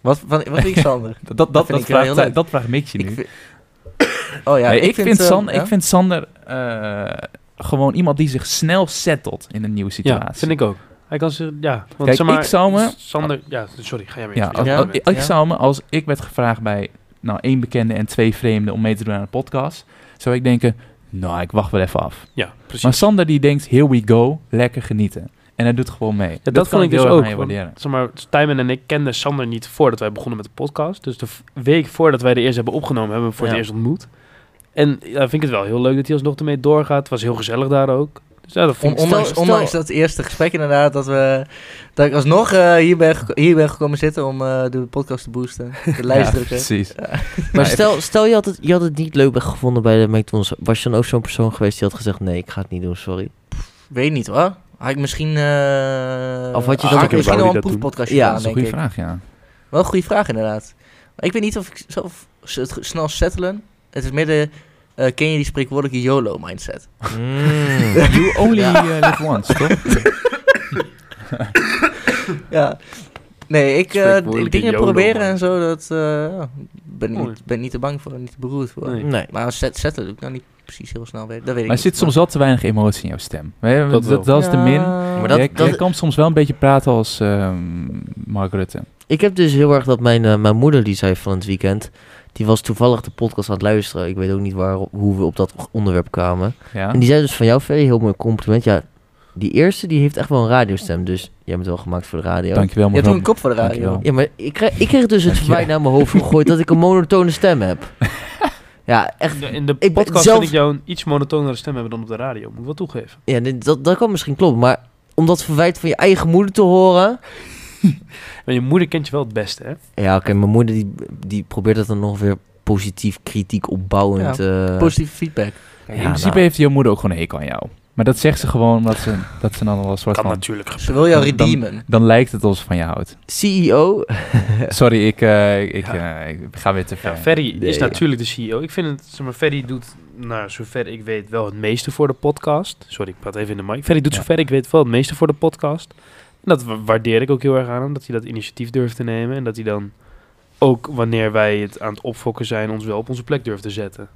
Wat, van, wat vind ik Sander?
Dat, dat,
Dat
dat,
vind
dat,
ik wel heel leuk.
vraagt, dat vraagt Mitje nu.
ik vind- Oh ja,
Nee, ik, vind
eh,
San-
ja?
ik vind Sander eh, gewoon iemand die zich snel settelt in een nieuwe
Ja,
situatie.
vind ik ook. Hij kan ze, ja. Want
Kijk,
zeg maar,
ik zou me-
Sander, ja, sorry, ga jij weer.
Ja, als-
Ja.
als- ik
Ja.
zou me, als ik werd gevraagd bij nou, één bekende en twee vreemden om mee te doen aan een podcast, zou ik denken, nou, ik wacht wel even af.
ja, precies.
Maar Sander die denkt, here we go, lekker genieten. En hij doet gewoon mee.
Ja, dat,
kan
vond ik
heel
dus
erg
ook.
aan je
want,
waarderen.
Zeg maar, Stijmen en ik kenden Sander niet voordat wij begonnen met de podcast. Dus de v- week voordat wij de eerste hebben opgenomen, hebben we hem voor
Ja.
het eerst ontmoet. En ja, vind ik het wel heel leuk dat hij alsnog ermee doorgaat. Het was heel gezellig daar ook. Dus ja, dat
On-
vond ik...
ondanks,
stel-
ondanks dat eerste gesprek inderdaad, dat, we, dat ik alsnog eh, hier, ben, geko- hier ben gekomen zitten om eh, de podcast te boosten, de lijst
Ja,
drukken.
precies.
Maar
Nee.
stel, stel je, had het, je had het niet leuk gevonden bij de McDonald's. Was je dan ook zo'n persoon geweest die had gezegd... Nee, ik ga het niet doen, sorry.
Weet niet hoor. Had ik misschien... eh
Of had je dat
had
ook
ik
een
misschien
wou
wel een
die dat doen?
proefpodcastje
Ja,
gedaan,
dat is een
denk
goede
ik.
vraag, ja.
Wel een goede vraag inderdaad. Maar ik weet niet of ik zelf s- het ge- snel settelen. Het is midden... eh ken je die spreekwoordelijke YOLO-mindset?
Mm.
Hmm.
You only eh, live once, toch?
Ja. Nee, ik, eh, ik
Spreekwoordelijke
dingen
YOLO
proberen en
mindset.
zo, dat... eh, ja, ben,
Mooi.
niet, ben niet te bang voor, niet te beroerd voor.
Nee.
nee.
Maar set, settelen doe ik nou niet precies heel snel. Weet, dat weet ik
Maar er
niet.
zit soms wel te weinig emotie in jouw stem. Weet je,
Dat
Dat,
wel.
dat, is de min.
Maar
dat-
jij,
dat-
jij kan soms wel een beetje praten als ehm Mark Rutte.
Ik heb dus heel erg dat mijn, eh, mijn moeder die zei van het weekend... Die was toevallig de podcast aan het luisteren. Ik weet ook niet waar, hoe we op dat onderwerp kwamen.
Ja?
En die zei dus van jou, Ferry, heel mooi compliment. Ja, die eerste die heeft echt wel een radiostem. Dus jij bent wel gemaakt voor de radio.
Dankjewel,
Je hebt toen
mevrouw.
een kop voor de radio.
Dankjewel.
Ja, maar ik kreeg, ik kreeg dus het
Dankjewel.
verwijt naar mijn hoofd gegooid dat ik een monotone stem heb. Ja, echt.
Ja, In de
ben
podcast
zelf-
vind ik jou een iets monotonere stem hebben dan op de radio. Moet ik wel toegeven.
Ja, dit- dat, dat kan misschien kloppen, maar om dat verwijt van je eigen moeder te horen.
Maar je moeder kent je wel het beste, hè?
Ja, oké, mijn moeder die, die probeert dat dan nog weer positief, kritiek, opbouwend. eh,
Positieve feedback.
ja,
in principe
nou,
heeft jouw moeder ook gewoon een hekel aan jou. Maar dat zegt ze gewoon omdat ze, dat ze dan al een soort
Kan
van...
natuurlijk. gebeuren.
Ze wil jou
Dan- dan-
redeemen.
Dan lijkt het alsof ze van je houdt.
nou, CEO.
Sorry, ik, eh, ik, eh, ik ga weer te ver.
Ja, Ferry
Nee.
is natuurlijk de CEO. Ik vind het, zeg maar, Ferry doet, nou, zover ik weet, wel het meeste voor de podcast. Sorry, ik praat even in de mic. Ferry doet
Ja.
zover ik weet wel het meeste voor de podcast. En dat wa- waardeer ik ook heel erg aan hem, dat hij dat initiatief durft te nemen. En dat hij dan ook, wanneer wij het aan het opfokken zijn, ons wel op onze plek durft te zetten.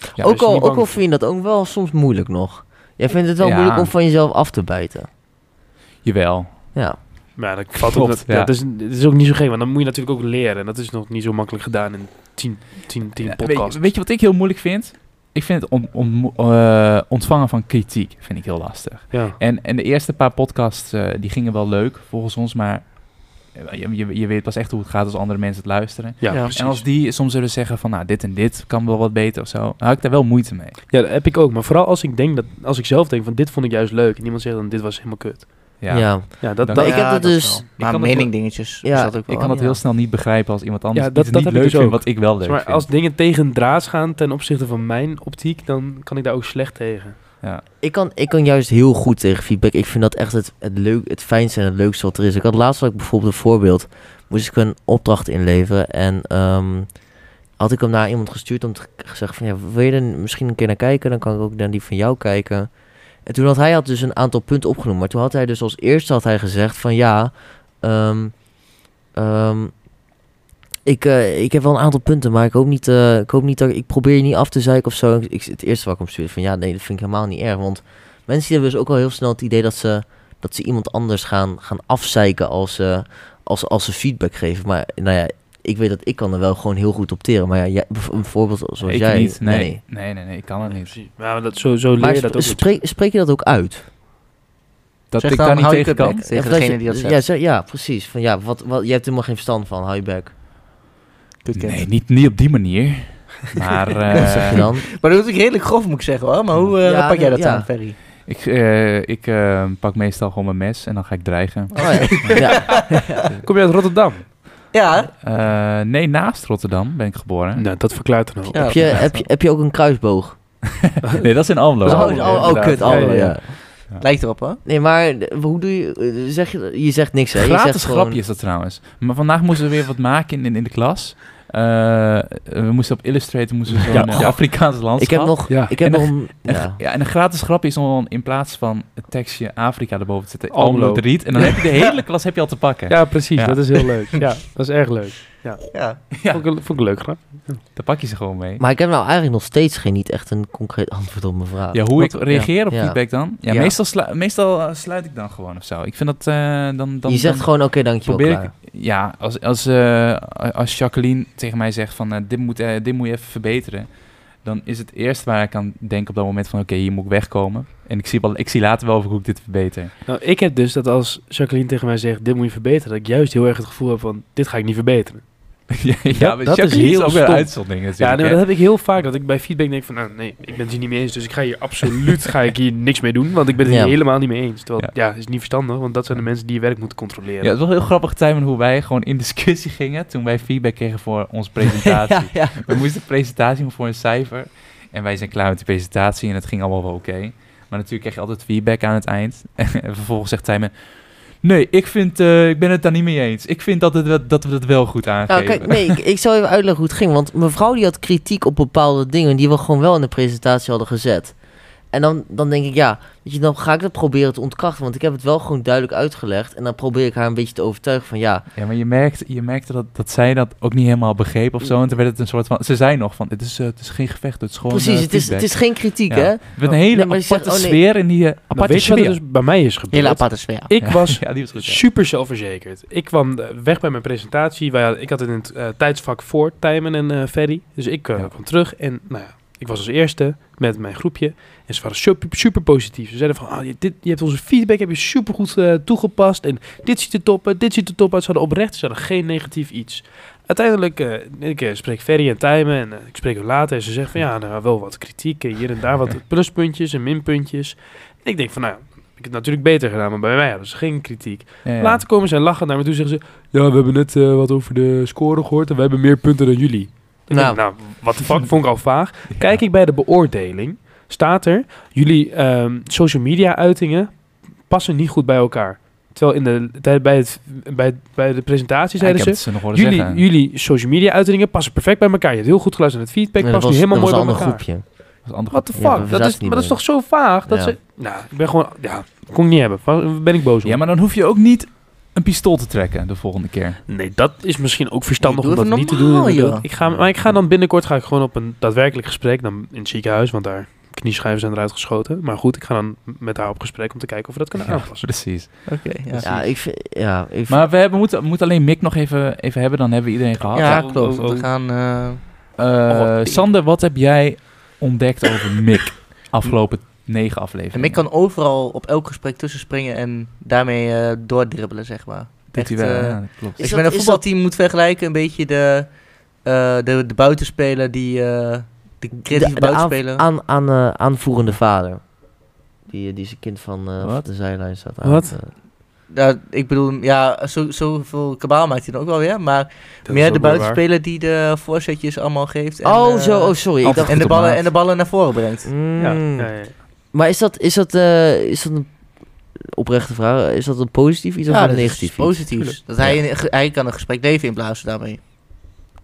Ja,
dus
ook,
je niet
al, ook
bang
al vind je dat ook wel soms moeilijk nog. Jij vindt het wel
Ja.
moeilijk om van jezelf af te bijten.
Jawel.
Ja.
Maar ja, dat valt ook.
Klopt,
Dat,
ja.
dat, is, dat is ook niet zo gek, want dan moet je natuurlijk ook leren. En dat is nog niet zo makkelijk gedaan in 10 10 10
Ja, weet,
podcasts.
je- weet je wat ik heel moeilijk vind? Ik vind het on- ontmo- eh, ontvangen van kritiek vind ik heel lastig.
ja.
En, en de eerste paar podcasts eh, die gingen wel leuk, volgens ons. Maar eh, je, je, je weet pas echt hoe het gaat als andere mensen het luisteren.
Ja,
Ja.
precies.
En als die soms zullen zeggen van, nou, dit en dit kan wel wat beter of zo, dan had ik daar wel moeite mee.
Ja, dat heb ik ook. Maar vooral als ik denk dat als ik zelf denk van dit vond ik juist leuk. En iemand zegt dan dit was helemaal kut.
Ja.
Ja.
Ja, dat,
Dan-
dat,
ik heb dat dus-
wel.
kan
Maar
dat
mening
wel-
dingetjes.
Ja,
is dat ook wel.
Ik kan dat
ja.
heel snel niet begrijpen als iemand anders
Ja,
ja,
dat-
dat,
dat
niet
heb ik
leuk
dus
vindt
ook.
wat ik wel leuk
zeg maar,
vind.
als dingen tegen draads gaan ten opzichte van mijn optiek, dan kan ik daar ook slecht tegen.
Ja.
Ik kan, ik kan juist heel goed tegen feedback. Ik vind dat echt het, het, leuk, het fijnste en het leukste wat er is. Ik had laatst had ik bijvoorbeeld een voorbeeld. Moest ik een opdracht inleveren en ehm, had ik hem naar iemand gestuurd om te zeggen van ja, wil je er misschien een keer naar kijken? Dan kan ik ook naar die van jou kijken. En toen had hij had dus een aantal punten opgenoemd. Maar toen had hij dus als eerste had hij gezegd van ja, ehm, ehm, ik, eh, ik heb wel een aantal punten, maar ik hoop niet, eh, ik hoop niet dat ik probeer je niet af te zeiken of zo. Ik, het eerste wat ik hem stuurde van ja, nee, dat vind ik helemaal niet erg. Want mensen die hebben dus ook al heel snel het idee dat ze, dat ze iemand anders gaan, gaan afzeiken als, ze als, als ze feedback geven. Maar nou ja, ik weet dat ik kan er wel gewoon heel goed op teren. Maar ja, jij, bijvoorbeeld zoals
ik
jij.
niet. Nee. Nee. nee, nee, ik kan het niet.
Ja, maar dat, zo, zo leer
Maar
je dat ook.
spreek, spreek je dat ook uit?
Dat
Zeg
ik
dan,
daar niet
hou je
tegen
kut
kan.
bek tegen
Ja, dat
degene
je-
die dat zegt.
Ja, ze- ja precies. Van, ja, wat, wat, je hebt er helemaal geen verstand van, hou je bek.
Kutcat.
Nee, niet, niet op die manier. Maar
Wat zeg
eh
je dan?
Maar dat is ook redelijk grof, moet ik zeggen hoor. Maar hoe eh,
Ja,
pak jij dat
nee, ja.
aan, Ferry?
ik, eh, ik eh, pak meestal gewoon mijn mes en dan ga ik dreigen.
Oh, ja. ja.
Kom je uit Rotterdam?
Ja,
Eh, nee, naast Rotterdam ben ik geboren.
Nou, dat verklaart dan ook.
Ja.
heb, je, heb, je, heb je ook een kruisboog?
Nee, dat is in Almelo.
Oh,
ja,
oh, oh,
inderdaad.
kut,
Ja, ja,
allemaal, ja,
ja.
lijkt erop hoor.
Nee, maar eh, hoe doe je... eh, Zeg je, je zegt niks, hè? Je
Gratis
zegt
grapje is dat trouwens. Maar vandaag moesten we weer wat maken in, in, in de klas. Eh, we moesten op Illustrator moesten we zo'n
Ja.
eh, Afrikaans landschap.
Ik heb nog...
Ja.
Ik heb
En
nog... een-
En
Ja.
ge- ja, en een gratis grapje is om in plaats van het tekstje Afrika erboven te zetten,
Almelo.
Almelo de Riet. En dan heb je de hele klas heb je al te pakken.
Ja, precies.
Ja.
Dat is heel leuk. Ja, dat is erg leuk.
Ja.
Ja.
Vond, ik, vond ik een leuk grap.
Daar pak je ze gewoon mee.
Maar ik heb nou eigenlijk nog steeds geen niet echt een concreet antwoord op mijn vraag.
Ja, hoe
Wat-
ik reageer op
ja.
feedback dan? Ja,
Ja.
meestal, slu- meestal eh, sluit ik dan gewoon of zo. Ik vind dat... eh, dan, dan,
je zegt
dan
gewoon, oké, dankjewel,
probeer
klaar.
ik... Ja, als, als, eh, als Jacqueline tegen mij zegt van eh, dit, moet, eh, dit moet je even verbeteren. Dan is het eerst waar ik aan denk op dat moment van oké, hier moet ik wegkomen. En ik zie, wel, ik zie later wel of ik- hoe ik dit verbeter.
Nou, ik heb dus dat als Jacqueline tegen mij zegt, dit moet je verbeteren, dat ik juist heel erg het gevoel heb van, dit ga ik niet verbeteren.
ja,
dat
maar
is
Jacqueline
heel
ook weer een
stom.
uitzondering natuurlijk.
ja, nee,
hè.
maar dat heb ik heel vaak, dat ik bij feedback denk van, nou, nee, ik ben het hier niet mee eens, dus ik ga hier absoluut ga ik hier niks mee doen, want ik ben het
Ja.
hier helemaal niet mee eens. Terwijl, ja, is niet verstandig, want dat zijn de mensen die je werk moeten controleren. Nou,
Ja, het was wel heel grappig, Tijmen, hoe wij gewoon in discussie gingen toen wij feedback kregen voor onze presentatie.
Ja, ja.
We moesten een presentatie doen voor een cijfer en wij zijn klaar met de presentatie en het ging allemaal wel oké. Maar natuurlijk kreeg je altijd feedback aan het eind. en vervolgens zegt Tijmen, nee, ik, vind, eh, ik ben het daar niet mee eens. Ik vind dat, het, wel- dat we het wel goed
Nou,
aangeven.
kijk, nee, ik, ik zal even uitleggen hoe het ging. Want mevrouw die had kritiek op bepaalde dingen die we gewoon wel in de presentatie hadden gezet. En dan, dan denk ik, ja, weet je, dan ga ik dat proberen te ontkrachten. Want ik heb het wel gewoon duidelijk uitgelegd. En dan probeer ik haar een beetje te overtuigen van, ja,
Ja, maar je merkte, je merkte dat, dat zij dat ook niet helemaal begreep of zo.
Mm.
En toen werd het een soort van, ze zei nog van, het is, eh, het is geen gevecht, het is gewoon
precies,
eh,
het is,
feedback.
het is geen kritiek,
Ja.
hè?
Het werd een hele
Nee, maar je
aparte
zegt, oh, nee.
sfeer in die eh, aparte
nou, weet je wat
sfeer.
er dus bij mij is gebeurd?
Hele aparte sfeer.
Ik was
ja, die was goed, ja.
super zelfverzekerd. Ik kwam eh, weg bij mijn presentatie. Wij, hadden- ik had het in het eh, tijdsvak voor Tijmen en eh, Ferry. Dus ik eh,
Ja.
kwam terug en nou ja, ik was als eerste met mijn groepje. En ze waren super, super positief. Ze zeiden van, ah, je, dit, je hebt onze feedback heb je super goed toegepast. En dit ziet er top uit, dit ziet er top uit. Ze hadden oprecht, ze hadden geen negatief iets. Uiteindelijk, eh, ik eh, spreek Ferry en Tijmen en eh, ik spreek hun later. En ze zeggen van, ja, nou, wel wat kritiek. eh, Hier en daar wat pluspuntjes en minpuntjes. En ik denk van, nou, ik heb het natuurlijk beter gedaan. Maar bij mij hadden ze geen kritiek.
Ja, ja.
Later komen ze en lachen naar me toe. Zeggen ze: Ja, we hebben net eh, wat over de score gehoord. En we hebben meer punten dan jullie. Ik denk,
Nou.
nou wat de fuck vond ik al vaag. Kijk ik bij de beoordeling. Staat er: Jullie ehm, social media uitingen passen niet goed bij elkaar. Terwijl in de, tijd bij, het, bij, bij de presentatie
Ja, ik
zeiden
heb
ze.
het ze nog horen
Jullie,
zeggen.
jullie social media uitingen passen perfect bij elkaar. Je hebt heel goed geluisterd naar het feedback.
Nee,
past nu helemaal
dat
mooi bij
een ander
elkaar.
groepje.
Dat is ander
What the
Ja, we
fuck? dat
zaten
is,
niet
maar dat is
bij.
toch zo vaag? Dat
Ja.
ze, nou, ik ben gewoon... Ja, kon ik niet hebben. Waar Ben ik boos op.
Ja, maar dan hoef je ook niet een pistool te trekken de volgende keer.
Nee, dat is misschien ook verstandig
Nee,
om
doe
dat
even
niet te
normaal,
doen. inderdaad.
joh.
Ik ga, maar ik ga dan binnenkort ga ik gewoon op een daadwerkelijk gesprek dan in het ziekenhuis, want daar knieschijven zijn eruit geschoten. Maar goed, ik ga dan met haar op gesprek om te kijken of we dat kunnen
Ja,
aanpassen.
Precies.
Oké, ja.
Ja, ik vind, ja, ik
Maar we hebben, moeten, moeten alleen Mick nog even, even hebben, dan hebben we iedereen gehad.
Ja,
oh,
klopt.
oh,
want We
oh.
gaan... eh,
Eh,
Oh, wat
Sander, wat heb jij ontdekt over Mick afgelopen negen afleveringen?
En Mick kan overal op elk gesprek tussenspringen en daarmee eh, doordribbelen, zeg maar.
Doet hij
echt,
wel,
eh,
ja, dat klopt.
Is
Als je met
dat-
een
is dat-
voetbalteam moet vergelijken, een beetje de, eh, de, de buitenspeler die... eh, de creatieve
de
buitenspeler.
aan, aan, eh, aanvoerende vader. Die, eh, die zijn kind van eh,
Wat?
de zijlijn staat aan.
Wat?
het, eh,
Ja, ik bedoel, ja, zo, zoveel kabaal maakt hij dan ook wel weer. Maar
Dat is
meer
ook
de
wel waar.
buitenspeler die de voorzetjes allemaal geeft. En,
oh,
eh,
zo, oh, sorry. Ik
af-
dacht,
en, de
Goed op
ballen,
maat.
en de ballen naar voren brengt.
Ja,
Mm.
ja, ja.
Maar is dat, is dat, eh, is dat een oprechte vraag? Is dat een positief iets of
Ja,
een
dat is
negatief iets?
positief. Dat hij, een- hij kan een gesprek leven inblazen daarmee.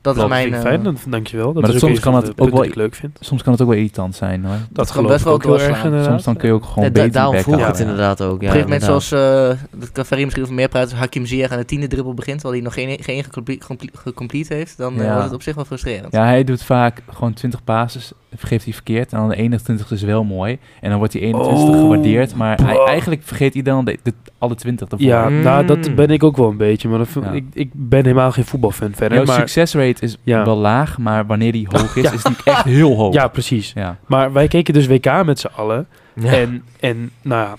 Dat is
Dat
mijn...
vind ik
eh,
fijn, dan- dankjewel. Dat
Maar
is
dat
ook
soms
een
kan
van
dat
de
ook
punten
wel-
die ik leuk vind.
Soms kan het ook wel irritant zijn hoor.
Dat
kan
geloof
best
ik
wel
ook heel erg
doorslaan.
inderdaad.
Soms dan kun je ook gewoon
Nee, da-
beter
daarom
je bek
vroeg ik
houden.
het inderdaad ook. Ja,
Op een gegeven moment,
inderdaad.
zoals eh dat Caveri misschien over meer praat, als Hakim Ziyech aan de tiende dribbel begint, terwijl hij nog geen, geen gecomple- gecomple- gecomplete heeft, dan eh,
Ja.
wordt het op zich wel frustrerend.
Ja, hij doet vaak gewoon 20 basis, geeft hij verkeerd. En dan de 21 is wel mooi. En dan wordt die 21
Oh,
gewaardeerd. Maar hij,
bro.
eigenlijk vergeet iedereen de, de, alle 20 ervoor.
Ja,
Mm.
nou, dat ben ik ook wel een beetje. Maar dat vind-
Ja.
ik, ik ben helemaal geen voetbalfan verder.
Jouw
Maar,
succesrate is
Ja.
wel laag, maar wanneer die hoog is, is die echt heel hoog.
ja, precies.
Ja.
Maar wij keken dus WK met z'n allen.
Ja.
En, en nou ja,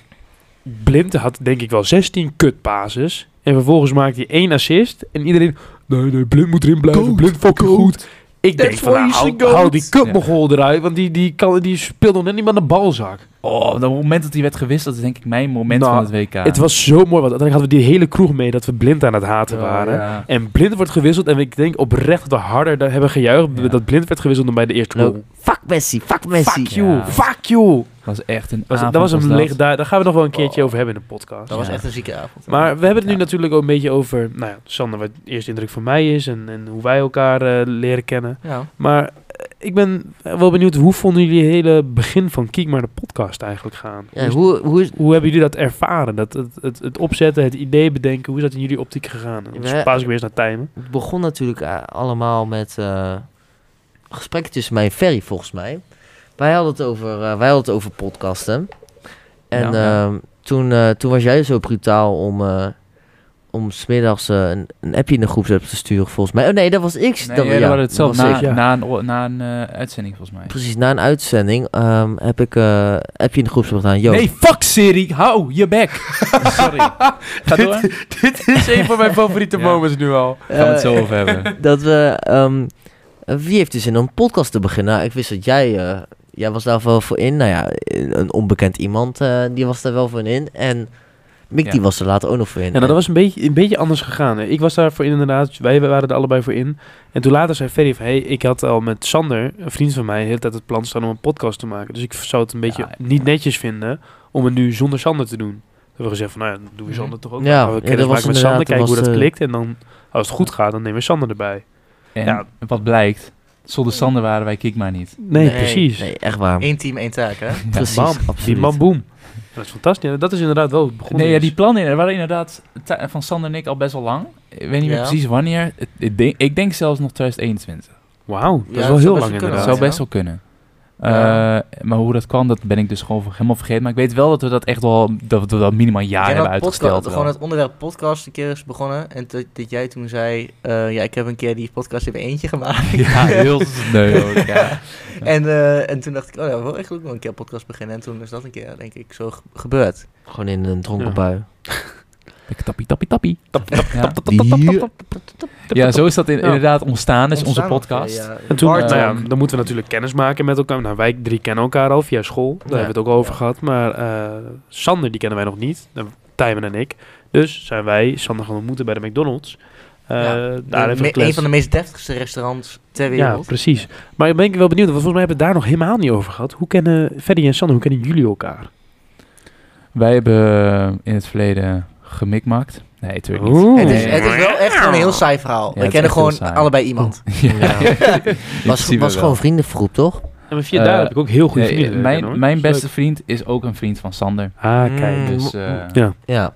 Blind had denk ik wel 16 kutpases. En vervolgens maakt hij één assist. En iedereen, nee, nee, Blind moet erin blijven.
Goat,
Blind fucking
goat.
goed. Ik denk
That's
van,
why
nou,
he's a
hou,
goat.
hou die
Ja.
kutmogol eruit. Want die, die, kan, die speelt nog net niet met een balzak.
Oh, op het moment dat hij werd gewisseld, is denk ik mijn moment
Nou,
van het WK.
Het was zo mooi. Want uiteindelijk hadden we die hele kroeg mee dat we Blind aan het haten
Oh,
waren.
ja.
En Blind wordt gewisseld. En ik denk oprecht dat we harder da- hebben gejuicht
Ja.
dat Blind werd gewisseld dan bij de eerste
Nou,
goal.
Fuck Messi, fuck Messi.
Fuck you,
Ja.
fuck you.
was echt een
Was, dat
avond
was een
dat.
legendaar. Daar gaan we nog wel een keertje over hebben in de podcast.
Dat was
Ja.
echt een zieke avond.
Maar we hebben het nu
Ja.
natuurlijk ook een beetje over, nou ja, Sander, wat de eerste indruk van mij is en, en hoe wij elkaar eh, leren kennen.
Ja.
Maar eh, ik ben wel benieuwd, hoe vonden jullie het hele begin van Kiek maar de podcast eigenlijk gaan?
Ja,
Hoe is-
hoe, hoe is...
hoe hebben jullie dat ervaren? Dat, het, het, het opzetten, het idee bedenken, hoe is dat in jullie optiek gegaan? En Dan
We-
paas ik weer eens naar Tijmen.
Het begon natuurlijk eh, allemaal met eh, gesprekken tussen mij en Ferry, volgens mij. Wij hadden het over, eh, wij hadden het over podcasten. En
Ja, ja.
ehm, toen, eh, toen was jij zo brutaal om, eh om smiddags eh, een, een appje in de groepsapp te sturen, volgens mij. Oh nee, dat was ik.
Nee, jullie
ja,
hadden het zelf
dat was
na,
ik.
ja.
na een, o- na een eh, uitzending volgens mij.
Precies, na een uitzending ehm, heb ik eh appje in de groepsapp gedaan. Yo,
Nee, fuck Siri, hou je bek. Sorry. Ga door.
Dit is een van mijn favoriete
Ja. moments
nu al.
Gaan we het
eh,
zo over hebben.
dat we... ehm, eh, wie heeft dus in om een podcast te beginnen? Nou, ik wist dat jij... eh, jij was daar wel voor in. Nou ja, een onbekend iemand eh, die was daar wel voor in. En Mick
Ja.
die was er later ook nog voor in.
Ja, nou, dat was een beetje, een beetje anders gegaan. Hè. Ik was daarvoor in inderdaad, wij waren er allebei voor in. En toen later zei Ferry van, hey, ik had al met Sander, een vriend van mij, de hele tijd het plan staan om een podcast te maken. Dus ik zou het een beetje
Ja, ja.
niet netjes vinden om het nu zonder Sander te doen. Toen hebben we gezegd van, nou ja, dan doen we Sander toch ook.
Mhm. Ja,
Dan gaan we
ja,
kennis
dat was
maken met
inderdaad,
Sander, kijken
dat
hoe dat
was, eh,
klikt. En dan, als het goed gaat, dan nemen we Sander erbij.
En
Ja.
wat blijkt, zonder Sander waren wij Kik maar niet.
Nee,
Nee,
precies.
Nee, echt waar.
Eén team, één taak, hè?
Precies,
Bam, die
absoluut.
man boom. Dat is fantastisch. En Dat is inderdaad wel begonnen.
Nee, ja,
is.
die plannen er waren inderdaad ta- van Sander en ik al best wel lang. Ik weet niet meer
Ja.
precies wanneer. Het- Ik denk, ik denk zelfs nog 2021.
Wauw, dat
Ja,
is wel
dat zou
heel
best
lang
wel kunnen.
inderdaad.
Dat zou
ja.
best wel kunnen.
Ja.
Eh, maar hoe dat kwam, dat ben ik dus gewoon helemaal vergeten. Maar ik weet wel dat we dat echt wel, dat we dat minimaal een jaar
Jij had
hebben
podcast-
uitgesteld. wel.
Gewoon het onderwerp podcast een keer is begonnen. En dat, dat jij toen zei, eh, ja, ik heb een keer die podcast in mijn eentje gemaakt.
Ja, heel sneu ook, ja.
en, eh, en toen dacht ik, oh ja, we willen echt ook nog een keer een podcast beginnen. En toen is dat een keer, denk ik, zo ge- gebeurd.
Gewoon in een dronken
Ja.
bui.
Lekker Tappie, tappie, tappie. Ja.
Die-
Ja, zo is dat in- inderdaad ontstaan, is onze
Ontstaan ongeveer,
podcast. eh,
ja.
En toen,
Hard
nou ja,
talk.
dan moeten we natuurlijk kennis maken met elkaar. Nou, wij drie kennen elkaar al via school. Daar
Ja.
hebben we het ook over
Ja.
gehad. Maar eh, Sander, die kennen wij nog niet. Eh, Tijmen en ik. Dus zijn wij Sander gaan ontmoeten bij de McDonald's. Eh,
Ja.
Daar
De-
heeft
me-
gekletst.
een van de meest deftigste restaurants ter
Ja,
wereld.
precies. Maar ik ben ik wel benieuwd, want volgens mij hebben we het daar nog helemaal niet over gehad. Hoe kennen Ferry en Sander, hoe kennen jullie elkaar?
Wij hebben in het verleden gemikmakt. Nee, natuurlijk niet.
Oeh.
Het, is, het is wel echt gewoon een heel saai verhaal.
Ja,
we
het is
kennen
echt
gewoon
heel saai.
allebei iemand.
Ja. Was,
principe
was
wel.
gewoon vriendenvergroep, toch?
En maar via daar
Eh,
heb ik ook heel goed
Nee,
vrienden. leren kennen, hoor.
mijn mijn
Dat is
beste vriend is ook een vriend van Sander.
leuk. Ah, kijk.
Mm.
Dus
mo-
eh,
Ja,
Ja.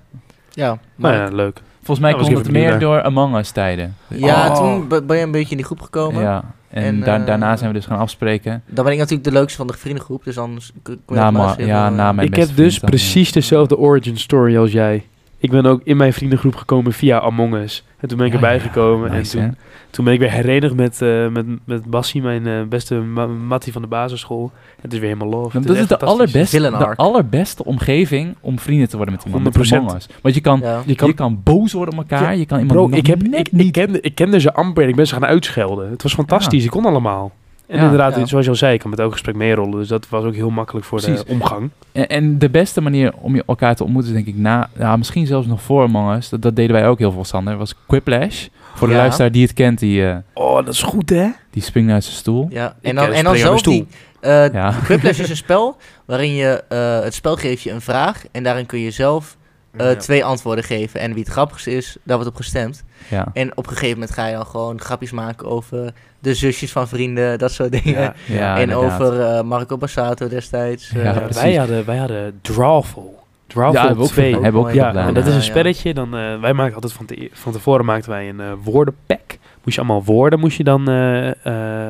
Ja, maar,
nou ja, leuk.
volgens mij
Nou, was
komt
ik
het
even
meer
benieuwd
door Among Us tijden.
ja
Oh.
toen be- ben je een beetje in die groep gekomen.
Ja. En,
En,
daar-
eh,
daarna zijn we dus gaan afspreken.
Dan ben ik natuurlijk de leukste van de vriendengroep, dus dan s- k- kon je
Na
dat
ma-
laatst heel
ja,
veel,
na
eh,
mijn
ik
beste
heb dus
vriend dan, ja.
precies dezelfde origin story als jij. Ik ben ook in mijn vriendengroep gekomen via Among Us. En toen ben ik
Ja,
erbij
ja,
gekomen.
Nice,
en
hè?
toen, toen ben ik weer herenigd met, eh met, met Bassie, mijn eh, beste ma- mattie van de basisschool. Het is weer helemaal love.
Dat is de allerbeste,
Villain
de
arc.
allerbeste omgeving om vrienden te worden met iemand. Met
100%.
Among Us. Want je kan,
ja.
Je
je
kan,
kan, boos worden op elkaar.
Ja,
Je kan iemand
bro,
nog
ik, heb,
net
ik, ik,
niet...
kende, ik kende ze amper en ik ben ze gaan uitschelden. Het was fantastisch, ik kon allemaal. En
Ja.
inderdaad,
Ja.
zoals je al zei, ik kan met elk gesprek meerollen. Dus dat was ook heel makkelijk voor de
Precies.
omgang.
En, en de beste manier om je elkaar te ontmoeten, is denk ik, na, ja, misschien zelfs nog voor Among Us, dat, dat deden wij ook heel veel, Sander, was Quiplash. Voor de
Ja.
luisteraar die het kent, die, eh
Oh, dat is goed, hè?
die springt uit zijn stoel.
Ja,
Ik,
en dan,
eh,
en dan
spring aan
zelf
mijn
die, Eh,
Ja.
Quiplash is een spel waarin je... eh, het spel geeft je een vraag en daarin kun je zelf eh,
Ja.
twee antwoorden geven. En wie het grappigste is, daar wordt op gestemd.
Ja.
En op een gegeven moment ga je dan gewoon grapjes maken over de zusjes van vrienden, dat soort dingen.
Ja.
Ja,
en
inderdaad.
over eh, Marco Bassato destijds.
Ja,
eh,
Ja,
precies.
wij, hadden, wij hadden Drawful.
Ja,
Drawful
hebben we ook
2.
gedaan. Hebben we ook
Ja,
gedaan,
en dat
ja.
is een
Ja, ja.
spelletje. Dan, eh, wij maakten altijd van, te, van tevoren maakten wij een eh, woordenpack. Moest je allemaal woorden moest je dan eh,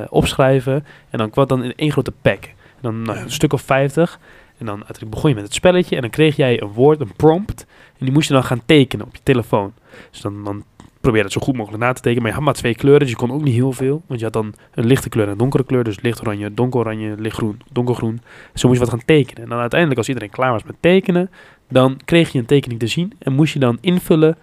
eh, opschrijven. En dan kwam dan in één grote pack. En dan nou, een stuk of 50. En dan uiteindelijk begon je met het spelletje. En dan kreeg jij een woord, een prompt. En die moest je dan gaan tekenen op je telefoon. Dus dan, dan probeer je dat zo goed mogelijk na te tekenen. Maar je had maar twee kleuren, dus je kon ook niet heel veel. Want je had dan een lichte kleur en een donkere kleur. Dus licht oranje, donker oranje, licht groen, donkergroen. Zo moest je wat gaan tekenen. En dan uiteindelijk, als iedereen klaar was met tekenen, dan kreeg je een tekening te zien en moest je dan invullen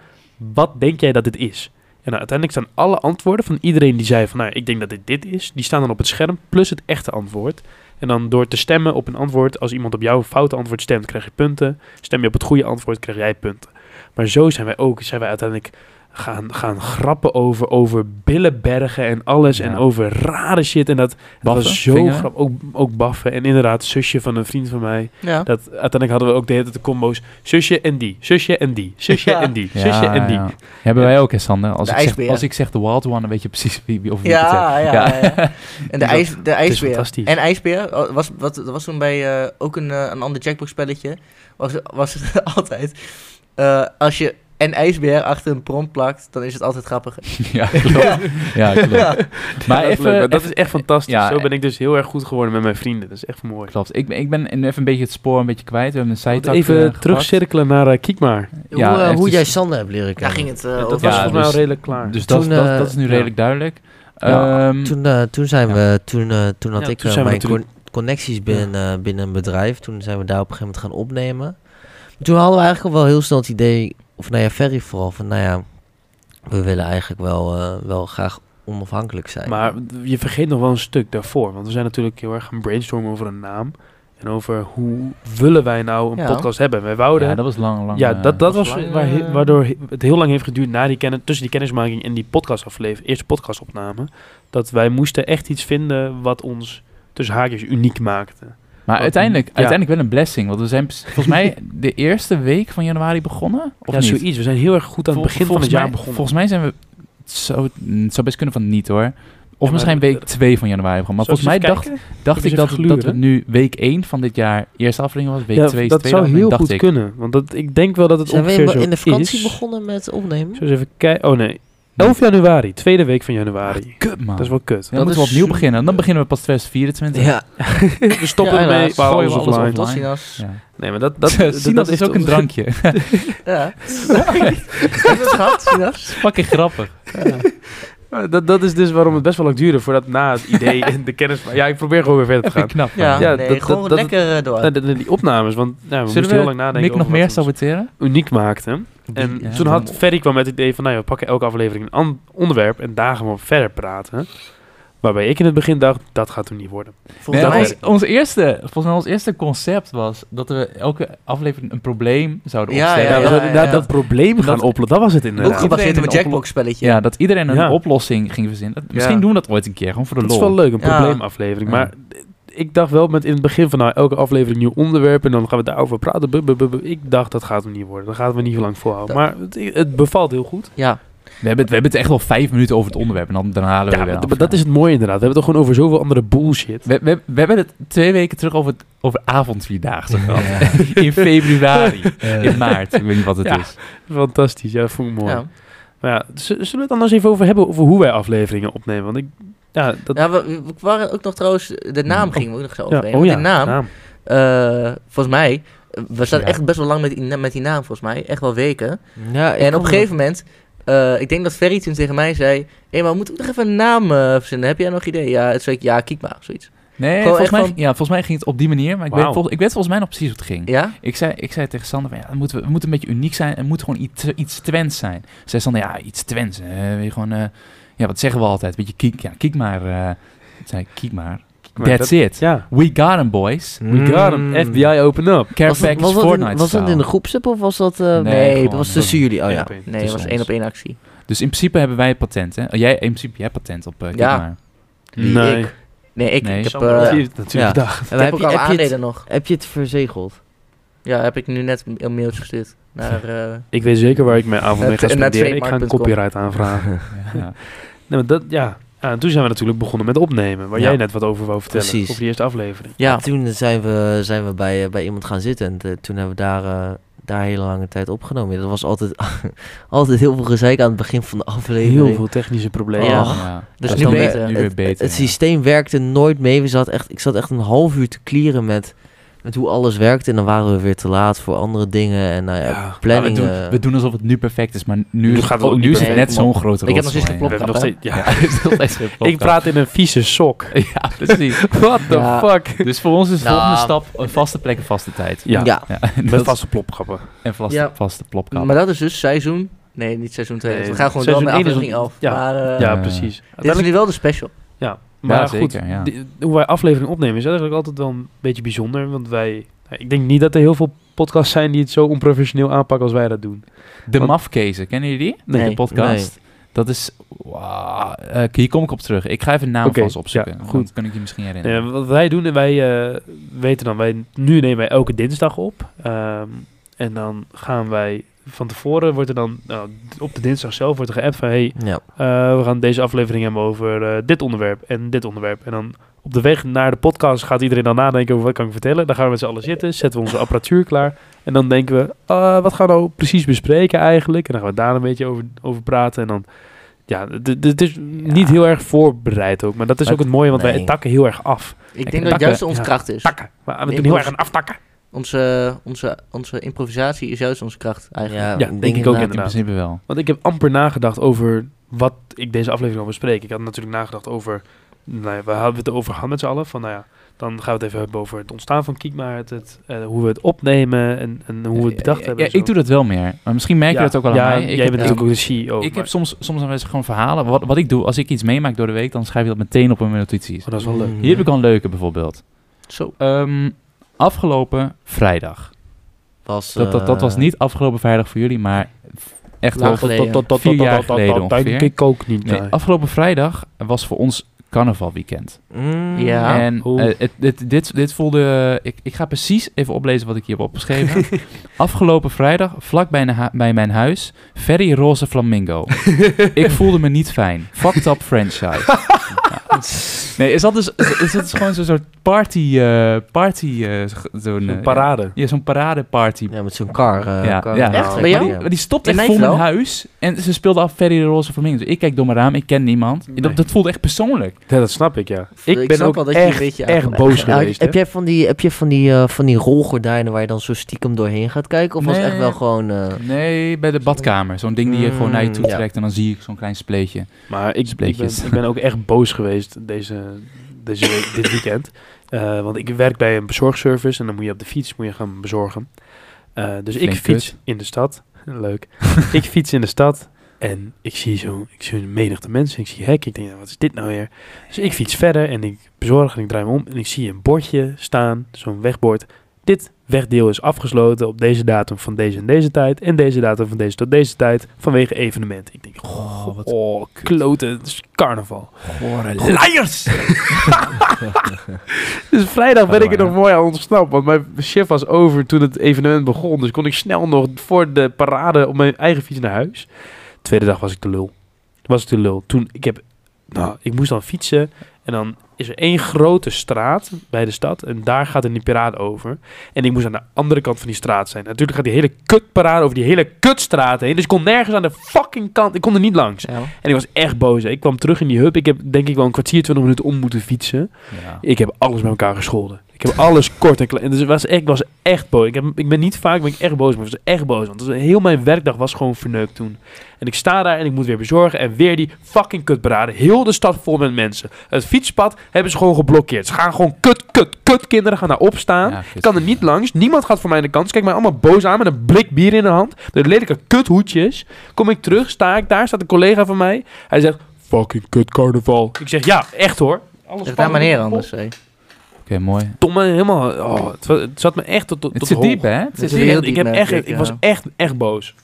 wat denk jij dat dit is. En nou, uiteindelijk staan alle antwoorden van iedereen die zei van nou, ik denk dat dit dit is, die staan dan op het scherm plus het echte antwoord. En dan door te stemmen op een antwoord, als iemand op jouw foute antwoord stemt, krijg je punten. Stem je op het goede antwoord, krijg jij punten. Maar zo zijn wij ook, zijn wij uiteindelijk gaan, gaan grappen over, over billenbergen en alles
Ja.
en over rare shit. En dat, dat
Baffen,
was zo
vingeren.
grappig. Ook, ook baffen. En inderdaad, zusje van een vriend van mij.
Oh.
ja.
Dat, uiteindelijk hadden we ook de hele tijd de combo's. Zusje en die, zusje en die, zusje
Ja.
en die,
Ja,
zusje en die.
ja. Hebben wij ook, hè, Sander? Als,
De
ik zeg,
ijsbeer.
als ik zeg de Wild One, dan weet je precies wie, wie of wie het
Ja, ja,
zegt.
ja, ja. En de,
Dat-
ijs, de ijsbeer.
fantastisch.
En ijsbeer oh, was, wat, dat was toen bij eh, ook een, eh, een ander jackbox spelletje. Was, was het altijd. eh, als je en ijsbeer achter een prompt plakt, dan is het altijd grappiger.
Ja, klopt. Ja, klopt.
Ja.
Maar
dat, is leuk,
even,
maar dat is echt fantastisch.
ja, eh-
Zo ben ik dus heel erg goed geworden met mijn vrienden. Dat is echt mooi.
Klopt. Ik ben, ik ben even een beetje het spoor een beetje kwijt. We hebben een zijtak eh,
Even
gepakt.
terugcirkelen naar eh, Kiek maar.
Ja,
hoe eh,
het
hoe
is-
jij Sander hebt leren
dus Daar
kennen.
ging het eh,
dat was
over.
ja,
volgens mij al
dus-
redelijk klaar.
Dus dat,
Toen,
dat,
eh,
dat is nu
ja.
redelijk duidelijk.
Ja,
Ehm,
Toen, eh, toen zijn
ja.
we, toen, eh, toen had
Hm. Ja,
ik
toen
eh,
zijn we
mijn
natuurlijk-
con- connecties binnen, eh, binnen een bedrijf. Toen zijn we daar op een gegeven moment gaan opnemen. Maar toen hadden we eigenlijk al wel heel snel het idee, of nou ja, Ferry vooral, van nou ja, we willen eigenlijk wel, eh, wel graag onafhankelijk zijn.
Maar je vergeet nog wel een stuk daarvoor. Want we zijn natuurlijk heel erg gaan brainstormen over een naam. En over hoe willen wij nou een
Ja.
podcast hebben. Wij wouden
ja, dat was lang, lang.
Ja,
eh,
dat, dat
was
was
lang,
waar-
eh,
waardoor he- het heel lang heeft geduurd na die kennis, tussen die kennismaking en die podcastaflevering, eerste podcastopname, dat wij moesten echt iets vinden wat ons tussen haakjes uniek maakte.
Maar
Wat-
uiteindelijk,
ja.
uiteindelijk wel een blessing. Want we zijn pers- volgens mij de eerste week van januari begonnen. Of
ja,
niet?
zoiets. We zijn heel erg goed aan het
Vol-
begin van
volgens
het jaar
mij-
begonnen.
Volgens mij zijn we... Zo, het zou best kunnen van niet hoor. Of
maar
misschien
de-
week 2 van januari begonnen.
Zal
Maar
ik
volgens mij
eens
dacht,
even
dacht
Even
ik dat, het-
gluren.
dat het nu week 1 van dit jaar eerste aflevering was. Week
kijken?
2
Ja,
is
dat
tweede
zou
aflevering,
heel
dacht
goed
ik.
kunnen. Want dat, ik denk wel dat het
zijn we
ongeveer
in,
zo
in de vakantie
is.
begonnen met opnemen?
Zullen we eens even kijken? Oh nee, 11 januari, tweede week van januari.
Ah, Kut man.
Dat is wel kut.
dan
dat
moeten we
is
opnieuw
zo-
beginnen. Dan beginnen we pas 2024.
Ja,
We stoppen
Ja,
ermee,
helaas.
we houden
Gooien
alles
we alles
offline.
offline.
Tot ziens.
Ja.
Nee, maar dat, dat,
Sinas
dat,
is ook een
drankje.
drankje.
Ja. Dat is schat, Sinas.
Fucking grappig.
Maar Dat, dat is dus waarom het best wel lang duurde voordat na het idee en de kennis... Ja, ik probeer gewoon weer verder te gaan.
Knap. man.
Ja,
Ja,
nee,
dat-
gewoon
dat- dat-
lekker eh, door.
Nou, de- de- die opnames, want ja, we moesten
Zullen
heel
we
lang nadenken
Nick nog
over
meer
wat ons
saboteren?
uniek maakte. En
Ja,
toen had Ferry kwam met het idee van, nou ja, we pakken elke aflevering een an- onderwerp en daar gaan we verder praten. Waarbij ik in het begin dacht, dat gaat hem niet worden.
Nee,
Volgens mij
ons, ons eerste, volgens mij ons eerste concept was dat we elke aflevering een probleem zouden
Ja,
opstellen.
Ja, we
ja,
zouden inderdaad
ja.
dat probleem gaan oplossen, dat was het
ook
inderdaad.
goed.
gebaseerd op een
iedereen een
jackbox spelletje.
Ja, dat iedereen een
Ja.
oplossing ging verzinnen. Dat-
Ja.
Misschien doen we dat ooit een keer, gewoon voor de
Dat
lol.
is wel leuk, een
Ja.
probleemaflevering.
Ja.
Maar ik dacht wel met in het begin van, nou, elke aflevering een nieuw onderwerp en dan gaan we daarover praten. Bu- bu- bu- bu- Ik dacht, dat gaat hem niet worden. Dat gaan we niet lang volhouden.
Dat-
Maar het, het bevalt heel goed.
Ja.
We hebben, het, we hebben het echt wel vijf minuten over het onderwerp en dan, dan halen we
Ja,
weer
maar
af.
maar dat is het mooie inderdaad. We hebben het toch gewoon over zoveel andere bullshit.
we, we, we hebben het twee weken terug over, het- over avondvierdaagse gehad. In februari, in maart. Ik weet niet wat het
Ja.
is.
Fantastisch, ja, dat vond ik mooi.
ja.
Maar ja, z- zullen we het anders even over hebben over hoe wij afleveringen opnemen? Want ik, ja, dat,
Ja, we, we waren ook nog trouwens, de naam
Oh.
gingen we ook nog zo
ja,
overheen. want de naam, eh, volgens mij, eh, we zaten
Ja.
echt best wel lang met die, na- met die naam volgens mij, echt wel weken.
ja
En op een gegeven moment, eh, ik denk dat Ferry toen tegen mij zei, hé maar we moeten ook nog even een naam eh, verzinnen, heb jij nog idee? Ja, het zei ik, ja, kiek maar, of zoiets.
Nee,
Gewoon
volgens
echt
mij,
van-
ja, volgens mij ging het op die manier. Maar ik,
Wauw.
weet, vol- ik weet volgens mij nog precies hoe Hm. het ging.
Ja?
Ik zei, ik zei tegen Sander, van, ja, dan moeten we, we moeten een beetje uniek zijn en moet gewoon iets, iets Twents zijn. Zei Sander, ja, iets Twents. eh, weet je, gewoon, eh, ja, wat zeggen we altijd? Beetje kiek, ja, kiek maar. eh zei ik, kiek maar.
Maar
That's it.
Ja.
We got 'em, boys.
We got him.
Mm.
FBI, open up.
Care
was dat,
package
was, dat
Fortnite
in, was dat in de
style.
groepsapp of was dat... eh,
Nee,
nee, dat
gewoon-
was tussen jullie. Oh ja.
Nee, het was
ons.
één op één actie.
Dus in principe hebben wij het patent, hè? Oh, jij, in principe, jij hebt patent op eh, kiek
Ja.
maar.
Wie
Nee.
ik. Nee, ik,
Nee.
ik heb,
Sander,
eh,
dat
ik
is natuurlijk
Ja.
gedacht.
En
heb ook al
heb, je
aandelen
het,
nog.
heb je het verzegeld?
Ja, heb ik nu net een mailtje gestuurd. Naar, eh,
Ik weet zeker waar ik mijn avond mee
Net-
ga
net
spenderen. Ik ga een
trademark.com.
copyright aanvragen.
Ja.
nee, maar dat, ja. Ja, en toen zijn we natuurlijk begonnen met opnemen. Waar
Ja.
jij net wat over wou vertellen.
Precies.
Over die eerste aflevering.
ja,
Toen zijn we, zijn we bij, eh, bij iemand gaan zitten en eh, toen hebben we daar, eh, daar hele lange tijd opgenomen. Dat was altijd, altijd heel veel gezeik aan het begin van de aflevering.
Heel veel technische problemen.
Ja.
Och.
Ja.
Dus
Dat
nu
dan
weer-
beter.
Nu
het,
weer beter.
Het
ja.
systeem werkte nooit mee. We zat echt, ik zat echt een half uur te klieren met, met hoe alles werkte. En dan waren we weer te laat voor andere dingen. En nou ja,
Ja,
Maar we,
planning.
doen,
eh,
we doen alsof het nu perfect is, maar nu,
Nu
is
gaat het
oh,
ook
nu
niet
is het
perfect.
net zo'n grote
Ik heb
rotzooi.
nog steeds
We hebben nog
hè?
steeds... Ja.
Ja, het is nog steeds geen
Ik
podcast.
praat in een vieze sok.
Ja, precies.
What the
Ja.
fuck?
Dus voor ons is de
Nou.
volgende stap een vaste plek, een vaste tijd.
Ja,
ja.
en
met
dat-
vaste plopkappen.
en vaste,
Ja.
vaste plopkap.
Maar dat is dus seizoen... Nee, niet seizoen 2.
Nee,
we gaan gewoon door
seizoen
met
één is
aflevering
een-
11.
ja.
Maar eh,
ja,
Eh,
precies.
dit is
Uiteindelijk,
nu wel de special.
ja, maar
Ja,
goed,
zeker, ja.
die- hoe wij aflevering opnemen is eigenlijk altijd wel een beetje bijzonder. Want wij, nou, ik denk niet dat er heel veel podcasts zijn die het zo onprofessioneel aanpakken als wij dat doen.
De
Want-
Mafkezen, kennen jullie die?
Nee.
De podcast. Dat is... wauw, eh, hier kom ik op terug. Ik ga even een naam
Oké,
van ze opzoeken.
ja,
want
goed.
Dan kan ik je misschien herinneren.
Nee, wat wij doen, wij eh, weten dan, wij, nu nemen wij elke dinsdag op. ehm, en dan gaan wij van tevoren, wordt er dan nou, d- op de dinsdag zelf wordt er geappt van hey,
ja.
Eh, we gaan deze aflevering hebben over eh, dit onderwerp en dit onderwerp. En dan op de weg naar de podcast gaat iedereen dan nadenken over wat kan ik vertellen. Dan gaan we met z'n allen zitten, zetten we onze apparatuur klaar. En dan denken we, eh, wat gaan we nou precies bespreken eigenlijk? En dan gaan we daar een beetje over, over praten. En dan, ja, d- d- het is niet heel erg voorbereid ook. Maar dat is
Maar
ook het mooie, want wij
nee.
takken heel erg af.
Ik
Kijk,
denk dat
takken,
juist onze
ja.
kracht is.
Takken. Maar we
Nee,
doen heel
maar-
erg aan aftakken.
Onze, onze, onze improvisatie is juist onze kracht eigenlijk.
Ja,
Ja,
ik
denk ik ook
inderdaad.
In principe wel.
Want ik heb amper nagedacht over wat ik deze aflevering wil bespreken. Ik had natuurlijk nagedacht over. Nou ja, we hadden het over gehad met z'n allen. Van nou ja, dan gaan we het even hebben over het ontstaan van Kiekma. Het, het, eh, hoe we het opnemen en, en hoe we het bedacht
Ja,
hebben.
Eh, ja, ik doe dat wel meer. Maar misschien merk je dat ook wel
ja,
aan mij. Ik
Jij
heb-
bent
ik-
natuurlijk ook de CEO.
Ik
maar-
heb soms, soms dan eens gewoon verhalen. Wat, wat ik doe, als ik iets meemaak door de week, dan schrijf je dat meteen op in mijn notities.
Oh, dat is wel leuk.
Mhm.
Hier heb ik al een leuke bijvoorbeeld.
Zo.
Ehm, afgelopen vrijdag.
Was,
Dat, dat, dat was
eh,
niet afgelopen vrijdag voor jullie, maar echt
Lang
wel.
geleden.
Vier jaar geleden
denk
ongeveer.
ik ook niet.
Nee,
nee.
afgelopen vrijdag was voor ons carnavalweekend.
mm,
Ja.
En
oeh.
eh, het, dit, dit, dit voelde... Ik, ik ga precies even oplezen wat ik hier heb opgeschreven. Afgelopen vrijdag, vlak bij, mijn hu- bij mijn huis, Ferry Roze Flamingo. ik voelde me niet fijn. Fucked up franchise. Ja. Nee, is dat dus, is, is dat dus gewoon zo'n soort party... eh, party eh, zo- zo'n,
Een
eh,
parade.
Ja, zo'n paradeparty.
Ja, met zo'n car. eh,
Ja,
car-
ja.
nou,
Echt?
ik
Bij jou?
weet
Maar
niet,
die stopt
In
echt voor mijn
Nijveld?
huis. En ze speelde af Ferry de Roze Flamingo. Dus ik kijk door mijn raam, ik ken niemand.
Nee.
Dat, dat voelde echt persoonlijk.
Ja, dat snap ik, ja. Ik,
Ik
ben
snap
ook
wel dat je een
echt,
beetje
echt
aangelegd
boos
ja. Nou,
geweest.
heb
hè.
jij van die, heb je van die, eh, van die rolgordijnen waar je dan zo stiekem doorheen gaat kijken? Of was
Nee.
echt wel gewoon... eh,
Nee, bij de badkamer. Zo'n ding die je gewoon naar je toe
Mm, ja.
trekt en dan zie ik zo'n klein spleetje.
Maar ik, ik, ben,
Spleetjes.
ik ben ook echt boos geweest deze, deze, week- dit weekend. Eh, want ik werk bij een bezorgservice en dan moet je op de fiets moet je gaan bezorgen. Eh, dus ik
Flink
fiets
kut.
in de stad. Leuk. ik fiets in de stad en ik zie zo'n ik zie een menigte mensen. Ik zie hek. Ik denk, nou, wat is dit nou weer? Dus ik fiets verder en ik bezorg en ik draai me om. En ik zie een bordje staan, zo'n wegbord. Dit wegdeel is afgesloten op deze datum van deze en deze tijd. En deze datum van deze tot deze tijd vanwege evenement. Ik denk,
Oh, wat
Oh, kloten. Het is carnaval.
gore
Liars! dus vrijdag ben ik er nog mooi aan ontsnapt. Want mijn shift was over toen het evenement begon. Dus kon ik snel nog voor de parade op mijn eigen fiets naar huis. Tweede dag was ik de lul. Was ik de lul. Toen, ik heb... Nou, ik moest dan fietsen. En dan is er één grote straat bij de stad. En daar gaat dan die parade over. En ik moest aan de andere kant van die straat zijn. Natuurlijk gaat die hele kutparade over die hele kutstraat heen. Dus ik kon nergens aan de fucking kant. Ik kon er niet langs.
Ja.
En ik was echt boos. hè. Ik kwam terug in die hub. Ik heb denk ik wel een kwartier, twintig minuten om moeten fietsen.
Ja.
Ik heb alles bij elkaar gescholden. Ik heb alles kort en klein. Dus het was, ik was echt boos. Ik, heb, ik ben niet vaak ben ik echt boos, maar ik was echt boos. Want het was- heel mijn werkdag was gewoon verneukt toen. En ik sta daar en ik moet weer bezorgen. En weer die fucking kutberaden. Heel de stad vol met mensen. Het fietspad hebben ze gewoon geblokkeerd. Ze gaan gewoon kut, kut, kut kinderen gaan daar opstaan.
Ja,
Ik kan er niet langs. Niemand gaat voor mij aan de kant. Ze kijken mij allemaal boos aan met een blik bier in de hand. Met lelijke kuthoedjes. Kom ik terug, sta ik daar, staat een collega van mij. Hij zegt, fucking kut carnaval. Ik zeg, ja, echt hoor. Alles
Zeg daar
van-
maar neer anders. hé.
Oké, mooi.
Domme, helemaal... Oh, het, wa- het zat me echt tot, tot,
Het
tot
zit
hoog.
diep, hè? Het
Het
zit
zit
heel
echt-
diep,
ik, heb
merk
echt,
ik,
ik
ja.
was echt, echt boos.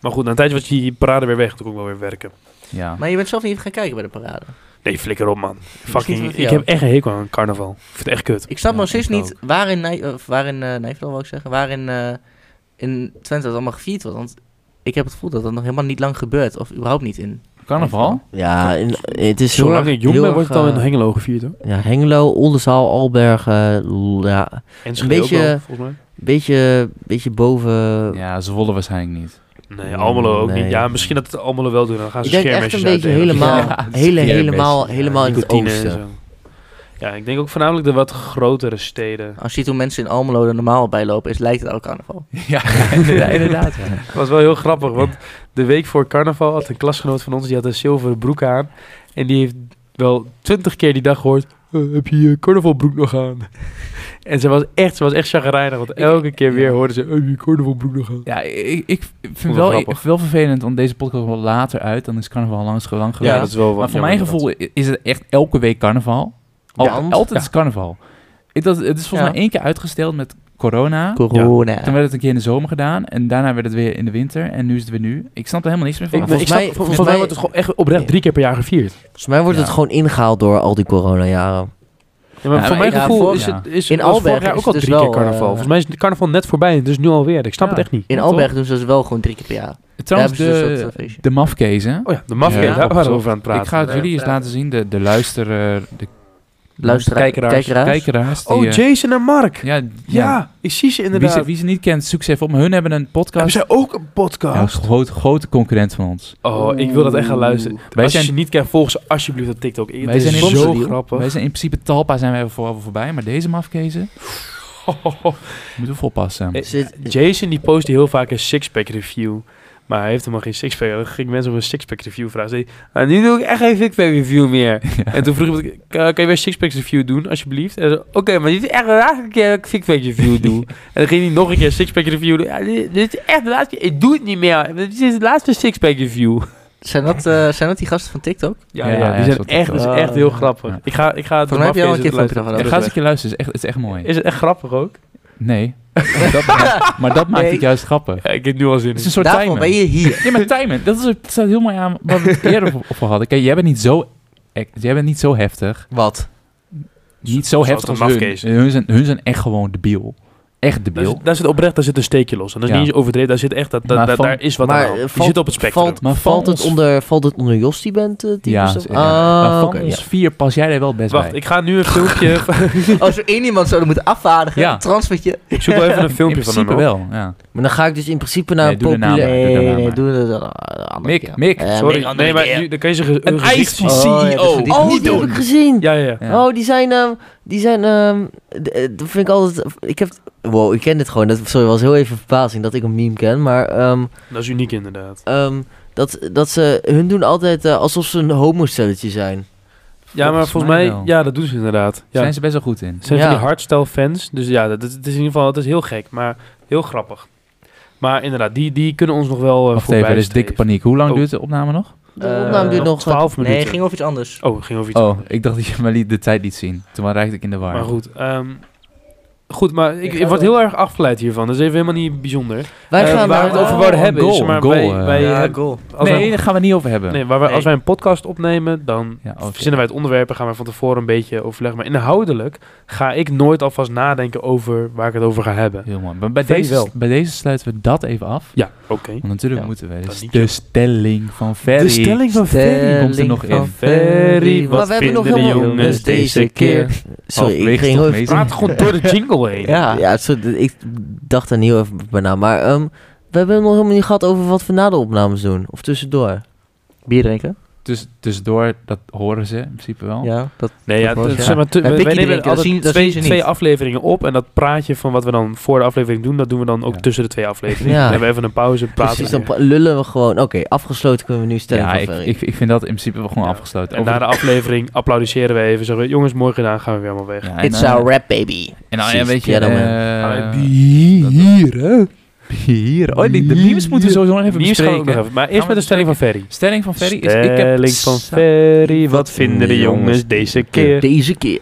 Maar goed, na een tijdje was die parade weer weg. Toen kon ik wel weer werken.
Ja.
Maar je bent zelf niet even gaan kijken bij de parade.
Nee, flikker op, man. Fucking,
wat voor
ik
jou.
heb echt een hekel aan carnaval. Ik vind het echt kut.
Ik snap
Ja,
nog steeds
ik
niet waarin, Nij- of waarin eh Nijverdal wou ik zeggen, waarin eh, in Twente dat allemaal gevierd wordt. Want ik heb het gevoel dat dat nog helemaal niet lang gebeurt, of überhaupt niet in.
Carnaval?
Ja, en, eh, het is heel
Zolang
erg-
ik jong
heel
ben, wordt het
erg,
al in
eh,
Hengelo gevierd, hoor.
Ja, Hengelo, Oldenzaal, Albergen, L- ja, een
En
Schede ook beetje- wel,
volgens mij.
beetje, beetje boven.
Ja, Zwolle waarschijnlijk niet.
Nee, Almelo ook
Nee.
niet. Ja, misschien dat het Almelo wel doen. Dan gaan ze
ik denk echt een
scheermesjes
beetje
uitdelen.
helemaal,
Ja,
hele,
scheermesjes,
helemaal,
ja,
helemaal in het
Nicotine en
oosten.
zo. Ja, ik denk ook voornamelijk de wat grotere steden.
Als je ziet hoe mensen in Almelo er normaal bij lopen, is, lijkt het ook carnaval.
Ja, inderdaad. inderdaad, ja.
Het was wel heel grappig, want de week voor carnaval had een klasgenoot van ons, die had een zilveren broek aan. En die heeft wel twintig keer die dag gehoord, "Eh, heb je je carnavalbroek nog aan? En ze was echt, ze was echt chagrijnig, want elke keer weer hoorde ze, "Eh, heb je je carnavalbroek nog aan?
Ja, ik, ik vind
wel
het wel,
grappig.
wel vervelend, want deze podcast komt later uit. Dan is carnaval langs gelang geweest.
is wel
maar voor mijn gevoel i- is het echt elke week carnaval. Al,
Ja.
altijd is carnaval. Ik, dat, het is volgens
Ja.
mij één keer uitgesteld met corona.
Corona.
Toen werd het een keer in de zomer gedaan. En daarna werd het weer in de winter. En nu is het weer nu. Ik snap er helemaal niks meer van.
Ik,
volgens
ik snap-
mij-
vol- volgens
volgens
mij
mij-
wordt het gewoon echt oprecht drie keer per jaar gevierd.
Volgens mij wordt
Ja.
het gewoon ingehaald door al die coronajaren.
Ja, maar
Ja,
voor
maar
mijn
ja,
gevoel
voor-
is
ja.
het is,
In
was vorig
Albergen
jaar
is
ook al
het dus
drie keer
wel,
carnaval.
eh,
Volgens mij is de carnaval net voorbij, dus nu alweer. Ik snap
Ja.
het echt niet.
in Alberg doen ze dus wel gewoon drie keer per jaar.
Trouwens,
Daar hebben ze dus
de,
dat, eh, feestje.
de mafkezen.
Oh ja, de mafke,
Ja.
daar waren we
Ja.
over aan het praten.
Ik ga het
Ja,
jullie eens
praten.
laten zien. De, de luisteraar, de
Luisteraar,
kijkeraars,
kijkeraars. Die,
Oh,
eh,
Jason en Mark.
ja, ja,
Ja, ik zie ze
Wie, ze,
inderdaad.
wie ze niet kent, zoek ze even op. Maar hun hebben een
Hebben
podcast.
zij ook een
Ja,
podcast?
groot, grote concurrent van ons.
Oh, ik wil dat echt gaan luisteren.
Wij
Als je
zijn-
ze niet kent, volg ze alsjeblieft op TikTok. Het
Wij
is
zijn in-
zo
Sponsor-
grappig.
Wij zijn in principe Talpa zijn wij voor, voorbij, maar deze mafkezen moeten we volpassen.
Eh,
Zit-
Jason die postte heel vaak een sixpack review. Maar hij heeft helemaal geen sixpack. Dan ging ik mensen om een sixpack review vragen. Zei, hij, "Ah, nu doe ik echt geen sixpack review meer. En toen vroeg ik, "Kan- kan je weer sixpack review doen, alsjeblieft? En hij zei, oké, maar dit is echt de laatste keer dat ik sixpack review doe. en dan ging hij nog een keer een sixpack review doen. Ja, dit, dit is echt de laatste keer. Ik doe het niet meer. Dit is de laatste sixpack review.
Zijn dat, eh, zijn dat die gasten van TikTok?
Ja,
Ja,
ja,
ja,
die
ja,
zijn
zo
echt, dat is
TikTok.
echt heel
Ja.
grappig.
Ja.
Ik ga, ik ga het
Volgens mij heb je al een keer
mafkezen
filmpje
luisteren.
Ja,
daarvan
ga eens een keer luisteren, het is echt, het is echt mooi.
Is het echt grappig ook?
Nee, maar dat, maakt- maar dat maakt
Nee.
het juist grappig.
Ja, ik heb nu al zin
Het
in.
is een soort
Daarom
timer.
ben je hier.
Ja, maar timer, dat, is, het staat heel mooi aan wat we het eerder voor, voor hadden. Kijk, jij bent niet zo, ec- jij bent niet zo heftig.
Wat?
Niet
Zoals
zo heftig
een
als hun.
mafkezen.
Hun zijn, hun zijn echt gewoon debiel. Echt
Daar
debiel.
zit, daar zit oprecht daar zit een steekje los. En dat is
Ja.
niet eens overdreven. Daar zit echt dat, dat,
Maar
dat-
van-
daar is wat
maar,
aan.
eh,
Je
valt-
zit op het spectrum.
valt-
Maar van
Valt het,
ons-
onder, valt het onder Jos die bent? eh, types
Ja,
of-
zeker.
Oh,
Maar
ah,
van
oké.
ons vier pas jij er wel best
Wacht,
bij.
ik ga nu een filmpje.
Als er één iemand zouden moeten afvaardigen,
Ja.
een transfertje.
ik zoek wel even een
In
filmpje van
principe
hem. op.
wel, ja.
Maar dan ga ik dus in principe naar
Nee,
een
doe de naam
populair...
Nee,
maar. doe dat
nee,
maar.
doe dat dan een andere
Mick,
keer.
Mick.
Eh,
Sorry,
Mick, andere
nee, maar
keer.
nu, dan kan je zeggen eh,
Een ijsje.
Oh, ja, dat verdient
CEO. Oh,
niet
Oh, die
doen.
heb ik gezien!
Ja, ja, ja.
Ja.
Oh, die zijn... ehm, die zijn ehm, d- eh, dat vind ik altijd... Ik heb... Wow, ik ken dit gewoon. Dat, sorry, was heel even verbazing dat ik een meme ken. Maar ehm,
Dat is uniek inderdaad.
ehm, dat, dat ze... Hun doen altijd eh, alsof ze een homostelletje zijn.
Ja, maar
Volgens
volgens
mij
mij,
wel.
ja, dat doen ze inderdaad. Ja.
Zijn ze best wel goed in.
Ze zijn
Ja.
van die hardstyle fans. Dus ja, dat, dat- het is in ieder geval het is heel gek, maar heel grappig. Maar inderdaad, die, die kunnen ons nog wel eh
Wacht
voorbij
even, er is dikke
streven.
paniek. Hoe lang
Oh.
duurt de opname nog?
De
Eh,
opname duurt
nog
nog...
12 minuten.
Nee, ging over iets anders.
Oh, ging over iets
Oh,
anders.
ik dacht dat je maar liet de tijd niet zien. Toen raakte ik in de war.
Maar goed, ehm, goed, maar ik,
Ik ga
ik word
wel.
heel erg afgeleid hiervan. Dat is even helemaal niet bijzonder.
Wij
Eh, waar
gaan naar...
we het over
oh,
wouden hebben
goal,
is, maar
goal,
wij,
eh.
wij, eh,
goal.
als
nee,
wij-
daar gaan we niet over hebben.
nee, waar we, als
Nee.
wij een podcast opnemen, dan
Ja, oké.
verzinnen wij het onderwerp en gaan we van tevoren een beetje overleggen. Maar inhoudelijk ga ik nooit alvast nadenken over waar ik het over ga hebben.
Heel mooi. Maar bij
Vind ik
deze,
wel.
bij deze sluiten we dat even af.
Ja, oké.
Want natuurlijk
Ja,
moeten we.
dat
Dus
niet,
de
joh.
stelling van Ferry.
van
Ferry komt er nog
Stelling
in.
van Ferry.
Wat
Maar we hebben nog
vinden de
helemaal-
jongens deze keer?
Sorry, ik
Halverwege
ging
toch
heel even
mee
Praat gewoon door de jingle heen.
Ja.
Ja, sorry, d- ik dacht daar niet heel even bij na. Maar ehm, we hebben het nog helemaal niet gehad over wat we na de opnames doen. Of tussendoor.
Bier drinken?
Dus, tussendoor, dat horen ze in principe wel.
Ja, dat
Nee, ja,
Dat was-
t-
ja.
zeg maar, t-
Heb ik
wij
iedereen
nemen
keer, dat
altijd
zien- dat
twee,
zien ze niet.
twee afleveringen op en dat praatje van wat we dan voor de aflevering doen, dat doen we dan ook
Ja.
tussen de twee afleveringen.
Ja.
Dan hebben we even een pauze, praten.
Precies,
we
dan
weer.
pra- lullen we gewoon. Oké, afgesloten kunnen we nu stellen.
Ja,
van
ik,
Ferry.
ik, ik vind dat in principe wel gewoon
Ja.
afgesloten.
en
Over-
na de aflevering applaudisseren we even. Zeggen we, jongens, mooi gedaan, gaan we weer allemaal weg.
Ja, en,
It's
eh,
our rap, baby.
En dan
Precies,
ja, weet je...
ja, dan,
eh,
Ah,
hier, hè? Hier. Oh, die, de memes moeten we sowieso nog even
Nieuws gaan we ook
bespreken.
nog even. Maar
Gaan
eerst
we
met de stelling van
bespreken?
Ferry.
Stelling van Ferry is... Ik heb
Stelling van Ferry, wat vinden de jongens deze keer?
Deze keer.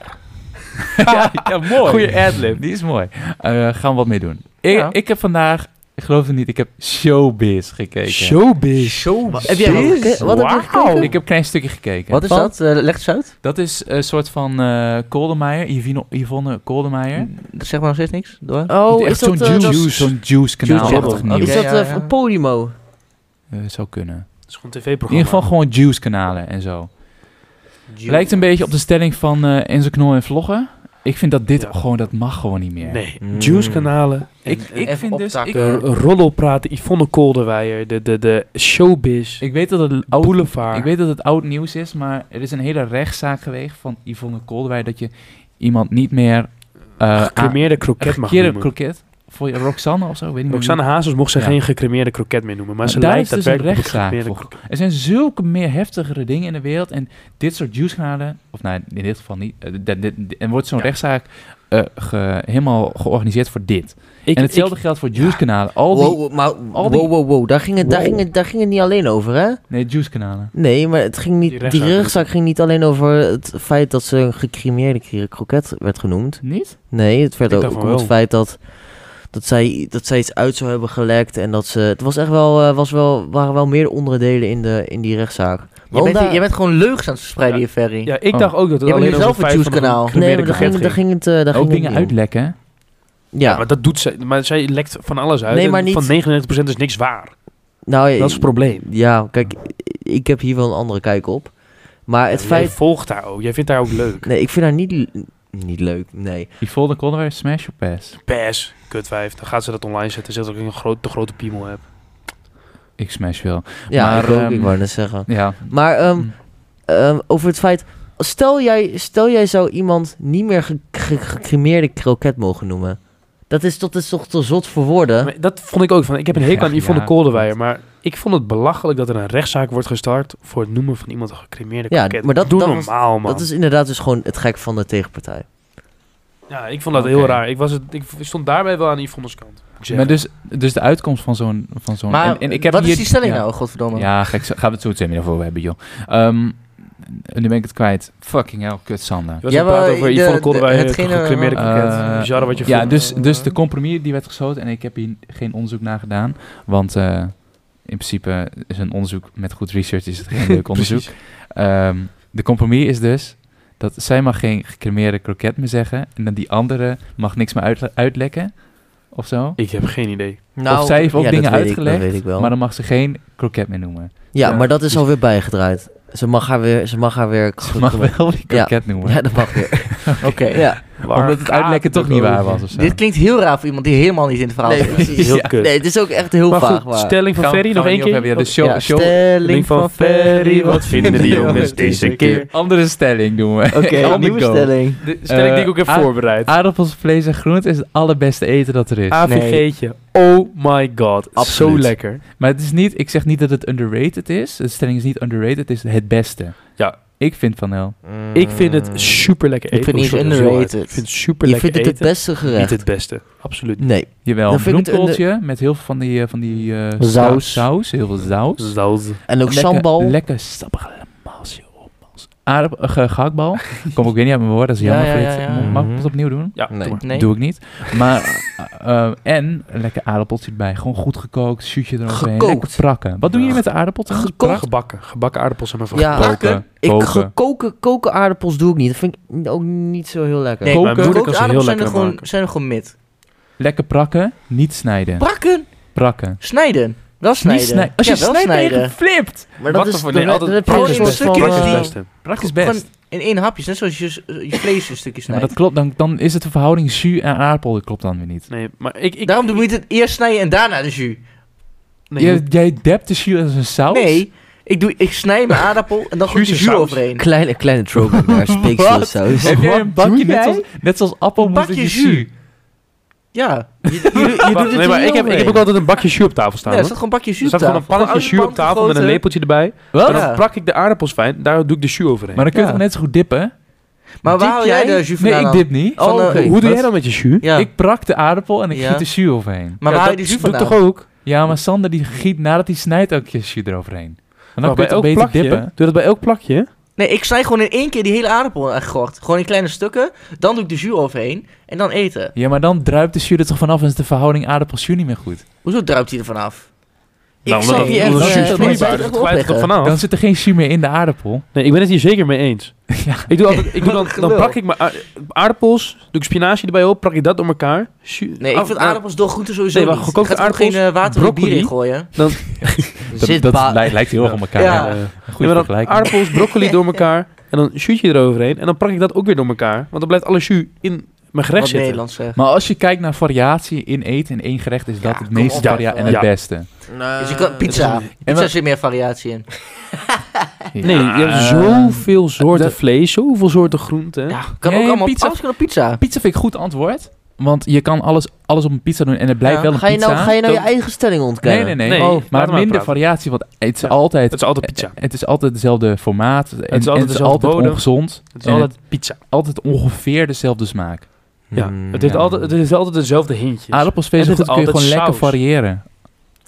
ja, ja, mooi.
Goeie adlib.
Die is mooi. Eh gaan we wat mee doen. Ik,
Ja.
ik heb vandaag Ik geloof het niet. Ik heb Showbiz gekeken.
Showbiz.
Show.
Heb jij wat geke- wat heb je gekeken?
Ik heb een klein stukje gekeken.
Wat is
Van?
dat? Eh, leg het eens uit.
Dat is een soort van eh Koldemeyer, Yvino- Yvonne Koldemeyer.
Dat zegt me nog steeds niks. Door.
Oh, is
Echt
dat...
zo'n
eh, dat-
juice, zo'n juice kanaal.
Juice
achtig
Channel.
nieuws.
Is dat
Ja, ja,
eh,
ja.
Podimo?
Eh, zou kunnen.
Dat is gewoon een
In ieder
tv-programma.
geval gewoon juice kanalen en zo. Lijkt een beetje op de stelling van eh Enzo Knol en Vloggen. Ik vind dat dit
Ja.
gewoon, dat mag gewoon niet meer.
Nee,
Mm.
juice-kanalen.
Ik,
En- en
ik
even
vind dus... Ik,
optakken.
R- Rollo praten, Yvonne Kolderweijer, de, de, de showbiz,
ik weet dat het oud,
boulevard.
ik weet dat het oud nieuws is, maar er is een hele rechtszaak geweest van Yvonne Kolderwij dat je iemand niet meer... eh, aan-
gecremeerde kroket mag
Gekkeerde
noemen.
kroket. Voor Roxanne of zo, weet niet meer.
Roxanne Hazes mocht ze
Ja.
geen gecremeerde kroket meer noemen, maar
Maar
ze
daar
lijkt
is dus een
daadwerkelijk op een
rechtszaak
gecremeerde
voor. Er zijn zulke meer heftigere dingen in de wereld. En dit soort juicekanalen, of nou in dit geval niet. eh, dit- dit- dit- En wordt zo'n
Ja.
rechtszaak eh, ge- helemaal georganiseerd voor dit.
kroket. Ik,
en hetzelfde
ik-
geldt voor juicekanalen. Al die.
Wow, wow, maar,
al die-
wow, wow, wow. Daar ging, het, daar, ging het, daar ging het niet alleen over, hè?
Nee, juicekanalen.
Nee, maar het ging niet,
Die
die
rechtszaak
rechtszaak, ging niet alleen over het feit dat ze een gecremeerde kri- kroket werd genoemd.
Niet?
Nee, het werd
Ik
ook
dacht van
om het
wel.
feit dat, dat, zij, dat zij iets uit zou hebben gelekt. En dat ze. Het was echt wel, eh, was wel, waren wel meer onderdelen in, de, in die rechtszaak.
Je
Waarom
bent,
daar-
je bent gewoon leugens aan het verspreiden
Ja.
hier, Ferry.
ja, ik
Oh.
dacht ook dat het
Jij bent
alleen
jezelf
over het
een
feit van
juicekanaal. Nee,
Nee,
gecremeerde
maar daar
kroket
ging, daar
ging.
ging het. eh, daar
Ook
ging
dingen
het niet om.
uitlekken. hè?
Ja,
Ja,
maar dat doet ze. Maar zij lekt van alles uit.
Nee,
en
maar niet-
Van 99% is niks waar.
nou,
Dat is het probleem.
ja, kijk, ik heb hier wel een andere kijk op. Maar het
Jij
feit.
volgt daar ook. Jij vindt daar ook leuk.
Nee, ik vind haar niet, l- niet leuk. Nee.
Yvonne Kolderwij, Smash of Pass?
Pes, kutwijf. Dan gaat ze dat online zetten. Zegt dat ik een groot, te grote piemel heb.
Ik smash wel.
Ja,
Maar,
ik, ook,
ehm,
ik wou net zeggen.
Ja.
Maar ehm,
mm.
Hm.
ehm, over het feit. Stel jij, stel jij zou iemand niet meer ge- ge- gecremeerde kroket mogen noemen. Dat is, dat is toch te zot voor woorden?
Maar dat vond ik ook van. Ik heb een hekel aan
Ja,
Yvonne
ja,
Kolderweijer. Maar ik vond het belachelijk dat er een rechtszaak wordt gestart. voor het noemen van iemand een gecremeerde
Ja,
kroket.
maar dat-
Doe
dat was-
normaal, man.
dat is inderdaad dus gewoon het gek van de tegenpartij.
Ja, ik vond dat
Oké.
heel raar. Ik, was het, ik stond daarbij wel aan Yvonne's kant. moet ik zeggen.
Maar dus, dus de uitkomst van zo'n. Van zo'n
Maar
en, en ik heb
wat
hier,
is die stelling
ja.
nou, godverdomme?
Ja, gek, zo- gaan we het zo meteen over hebben, joh. Ehm, nu ben ik het kwijt. Fucking hell, kut Sander.
je was
Ja,
aan het praten
maar
over
de-
Yvonne
de-
Kolderweijer. Het
hetgene-
gecremeerde kroket.
Eh,
Bizar wat je
Ja,
vond.
dus, dus de compromis die werd gesloten en ik heb hier geen onderzoek naar gedaan. Want eh, in principe is een onderzoek met goed research is het geen leuk onderzoek.
Precies.
Ehm, de compromis is dus dat zij mag geen gecremeerde kroket meer zeggen. En dan die andere mag niks meer uitle- uitlekken of zo.
Ik heb geen idee.
Nou,
of zij heeft ook
ja, dat
dingen
weet ik-
uitgelegd,
dat weet ik wel.
maar dan mag ze geen kroket meer noemen.
ja,
ja,
maar dat
dus-
is alweer bijgedraaid. Ze mag haar weer... Ze mag haar weer
Ze mag wel die
Ja.
kroket noemen.
Ja, dat mag weer.
Oké.
ja.
Omdat het uitlekken toch niet waar was of zo.
Dit klinkt heel raar voor iemand die helemaal niet in het verhaal
Nee,
zit.
is
precies.
heel kut.
Nee, het is ook echt heel
maar
vaag.
goed,
Maar...
stelling van
Gaan we-
Ferry
gaan
nog
we
één
niet over
keer.
hebben. Ja, de
Wat-
show,
Ja,
show,
stelling van Ferry, wat vinden de jongens deze keer?
Andere stelling doen we.
Oké,
On the
nieuwe
go.
stelling.
De stelling die ik ook heb
Eh, ah,
voorbereid.
Aardappels, vlees en groenten is het allerbeste eten dat er is.
AVG'tje. Oh my god. Zo
Absoluut.
lekker.
Maar het is niet, ik zeg niet dat het underrated is. De stelling is niet underrated, het is het beste.
Ja.
Ik vind van wel.
Ik vind
Mm.
het super lekker eten.
Ik vind het
Oh,
niet
sorry,
underrated.
sorry. Ik vind het super
Je
lekker
vindt het
eten.
het beste
Niet
gerecht?
het beste. Absoluut niet.
Nee.
Jawel, een
Dan vind ik het
bloemkooltje met heel veel van die, eh, van die eh,
Saus.
sa- saus. Heel veel saus.
Zout.
En ook
lekker,
sambal.
Lekker sappige maasje op. maas. Aardappel, eh, ge- gehaktbal. Kom ook weer niet uit mijn woorden, dat is
Ja,
jammer.
ja,
voor
ja,
dit.
ja.
Mag- Mag ik
Mhm.
het opnieuw doen?
Ja.
Nee.
doe maar.
Nee.
Doe ik niet. Maar, eh, eh, en een lekker aardappeltje erbij. Gewoon goed gekookt, zuurtje eroverheen.
Gekookt.
Lekker prakken. Wat doe je met de aardappel? toch?
Gekookt.
Gebakken. Gebakken aardappels en een vraag.
Ja,
Koken.
ik
koken.
ge- koken, koken aardappels doe ik niet. Dat vind ik ook niet zo heel lekker.
Nee,
Koken.
maar
Mijn moeder
kan ze
kookte aardappels
heel
zijn er,
lekker
gewoon,
maken.
zijn er gewoon mid.
Lekker prakken, niet snijden.
Prakken,
prakken.
snijden. Wel
Niet
snijden.
snijden. Als je
ja, wel
snijdt, ben je
snijden.
geflipt.
Maar
Wat
dat is
ervoor? Nee,
dan-
altijd-
dan heb je
Oh,
een
in een
soort van,
stukje
Prakken is
eh,
het
die-
beste.
Prak is
Gewoon
best.
in één hapje, net zoals je eh, je vlees een stukje
Ja, maar
snijdt.
dat klopt, dan, dan is het de verhouding jus en aardappel, dat klopt dan weer niet.
Nee, maar ik...
Nou,
ik
Daarom doe je het eerst snijden en daarna de jus.
nee,
jij, jij dept de jus als een saus?
Nee, ik, doe, ik snij mijn appel en dan gooi ik de
Jus en
jus
saus.
overheen.
Kleine, kleine trope naar speekselsaus.
Heb jij
Wat
een bakje
doe
net
jij?
zoals, net zoals appelmoes
Een
dat je
bakje
jus?
Ja,
Wacht, nee, maar ik heb, ik heb ook altijd een bakje jus op tafel staan.
ja, er
hoor.
staat gewoon een bakje jus
Er
op
staat gewoon
tafel.
een pannetje
oude
jus op
pan
tafel met een
gegoten.
lepeltje erbij.
Wat?
Maar dan
Ja.
prak ik de aardappels fijn, daar doe ik de jus overheen.
Maar dan kun je
Ja.
toch net zo goed dippen?
Maar waar
Dip
haal jij
jij?
de jus
Nee,
vandaan
ik
dan?
dip niet.
Oh,
Van,
oké.
eh,
Hoe doe
Wat?
jij dan met je jus?
Ja.
Ik prak de aardappel en ik
Ja.
giet de jus overheen.
Ja,
Maar waar haal
dat
je de jus
doet
vandaan?
toch ook?
Ja, maar Sander die giet nadat hij snijdt ook je jus eroverheen. En dan
Maar
Oh,
kun je toch beter
Oh, plakje,
dippen?
Doe dat bij elk plakje?
Nee, ik snij gewoon in één keer die hele aardappel aangegort. Gewoon in kleine stukken. Dan doe ik de jus overheen. En dan eten.
Ja, maar dan druipt de jus er toch vanaf en is de verhouding aardappel-jus niet meer goed.
Hoezo druipt hij er vanaf?
Nou,
ik
omdat
snap
het-
je echt...
omdat
eh,
het
dat
juist
moet je
vloeibaar
echt
is.
even
Het glijdt er
opleggen.
vanaf.
Dan zit er geen jus meer in de aardappel.
Nee, ik ben het hier zeker mee eens. Ik doe altijd, ik doe
Wat
dan,
een
dan
gelul.
pak ik mijn aard- aardappels, doe ik spinazie erbij op, pak ik dat door elkaar. Ju-
Nee, ik
Oh,
ah,
vind
ah,
aardappels door groenten sowieso
Nee, maar
niet.
gekookte
Ik ga er ook geen eh, water of bier
broccoli.
in gooien.
Dat,
Zit
dat
pa-
lij- lijkt heel erg op elkaar.
Ja.
Ja.
eh,
Een
ja,
goede
maar dan
vergelijking.
aardappels, broccoli door elkaar en dan shoot je eroverheen en dan pak ik dat ook weer door elkaar. Want dan blijft alle jus in mijn gerecht
Wat
zitten.
Nederlands zegt.
Maar als je kijkt naar variatie in eten in één gerecht, is dat
Ja,
het
kom
meeste
op,
varia
even.
en het
Ja.
beste.
Nou,
Dus je kan pizza. Pizza
maar-
zit meer variatie in.
Nee, je hebt zoveel soorten
dat-
vlees, zoveel soorten groenten.
Ja, kan
Nee,
ook allemaal
pizza-
pizza. Alles kan op pizza.
Pizza vind ik goed antwoord, want je kan alles, alles op een pizza doen en het blijft
Ja,
wel een
Ga je nou,
pizza.
ga je, nou je
dan-
eigen stelling
Nee,
ontkennen?
nee, nee.
Nee,
Oh,
laat
maar
maar
minder
praten.
variatie, want het is
Ja.
altijd...
Het is altijd
Eh,
pizza.
Eh, Het is altijd hetzelfde formaat. en- en Het is altijd,
dezelfde bodem.
ongezond.
Het is
En
altijd pizza.
altijd ongeveer dezelfde smaak.
Ja.
Hmm,
Het, heeft
Mm, ja. Ah,
altijd, het heeft altijd dezelfde hintjes.
Aardappels
En het
goed
is
kun je gewoon
altijd
lekker
saus.
variëren.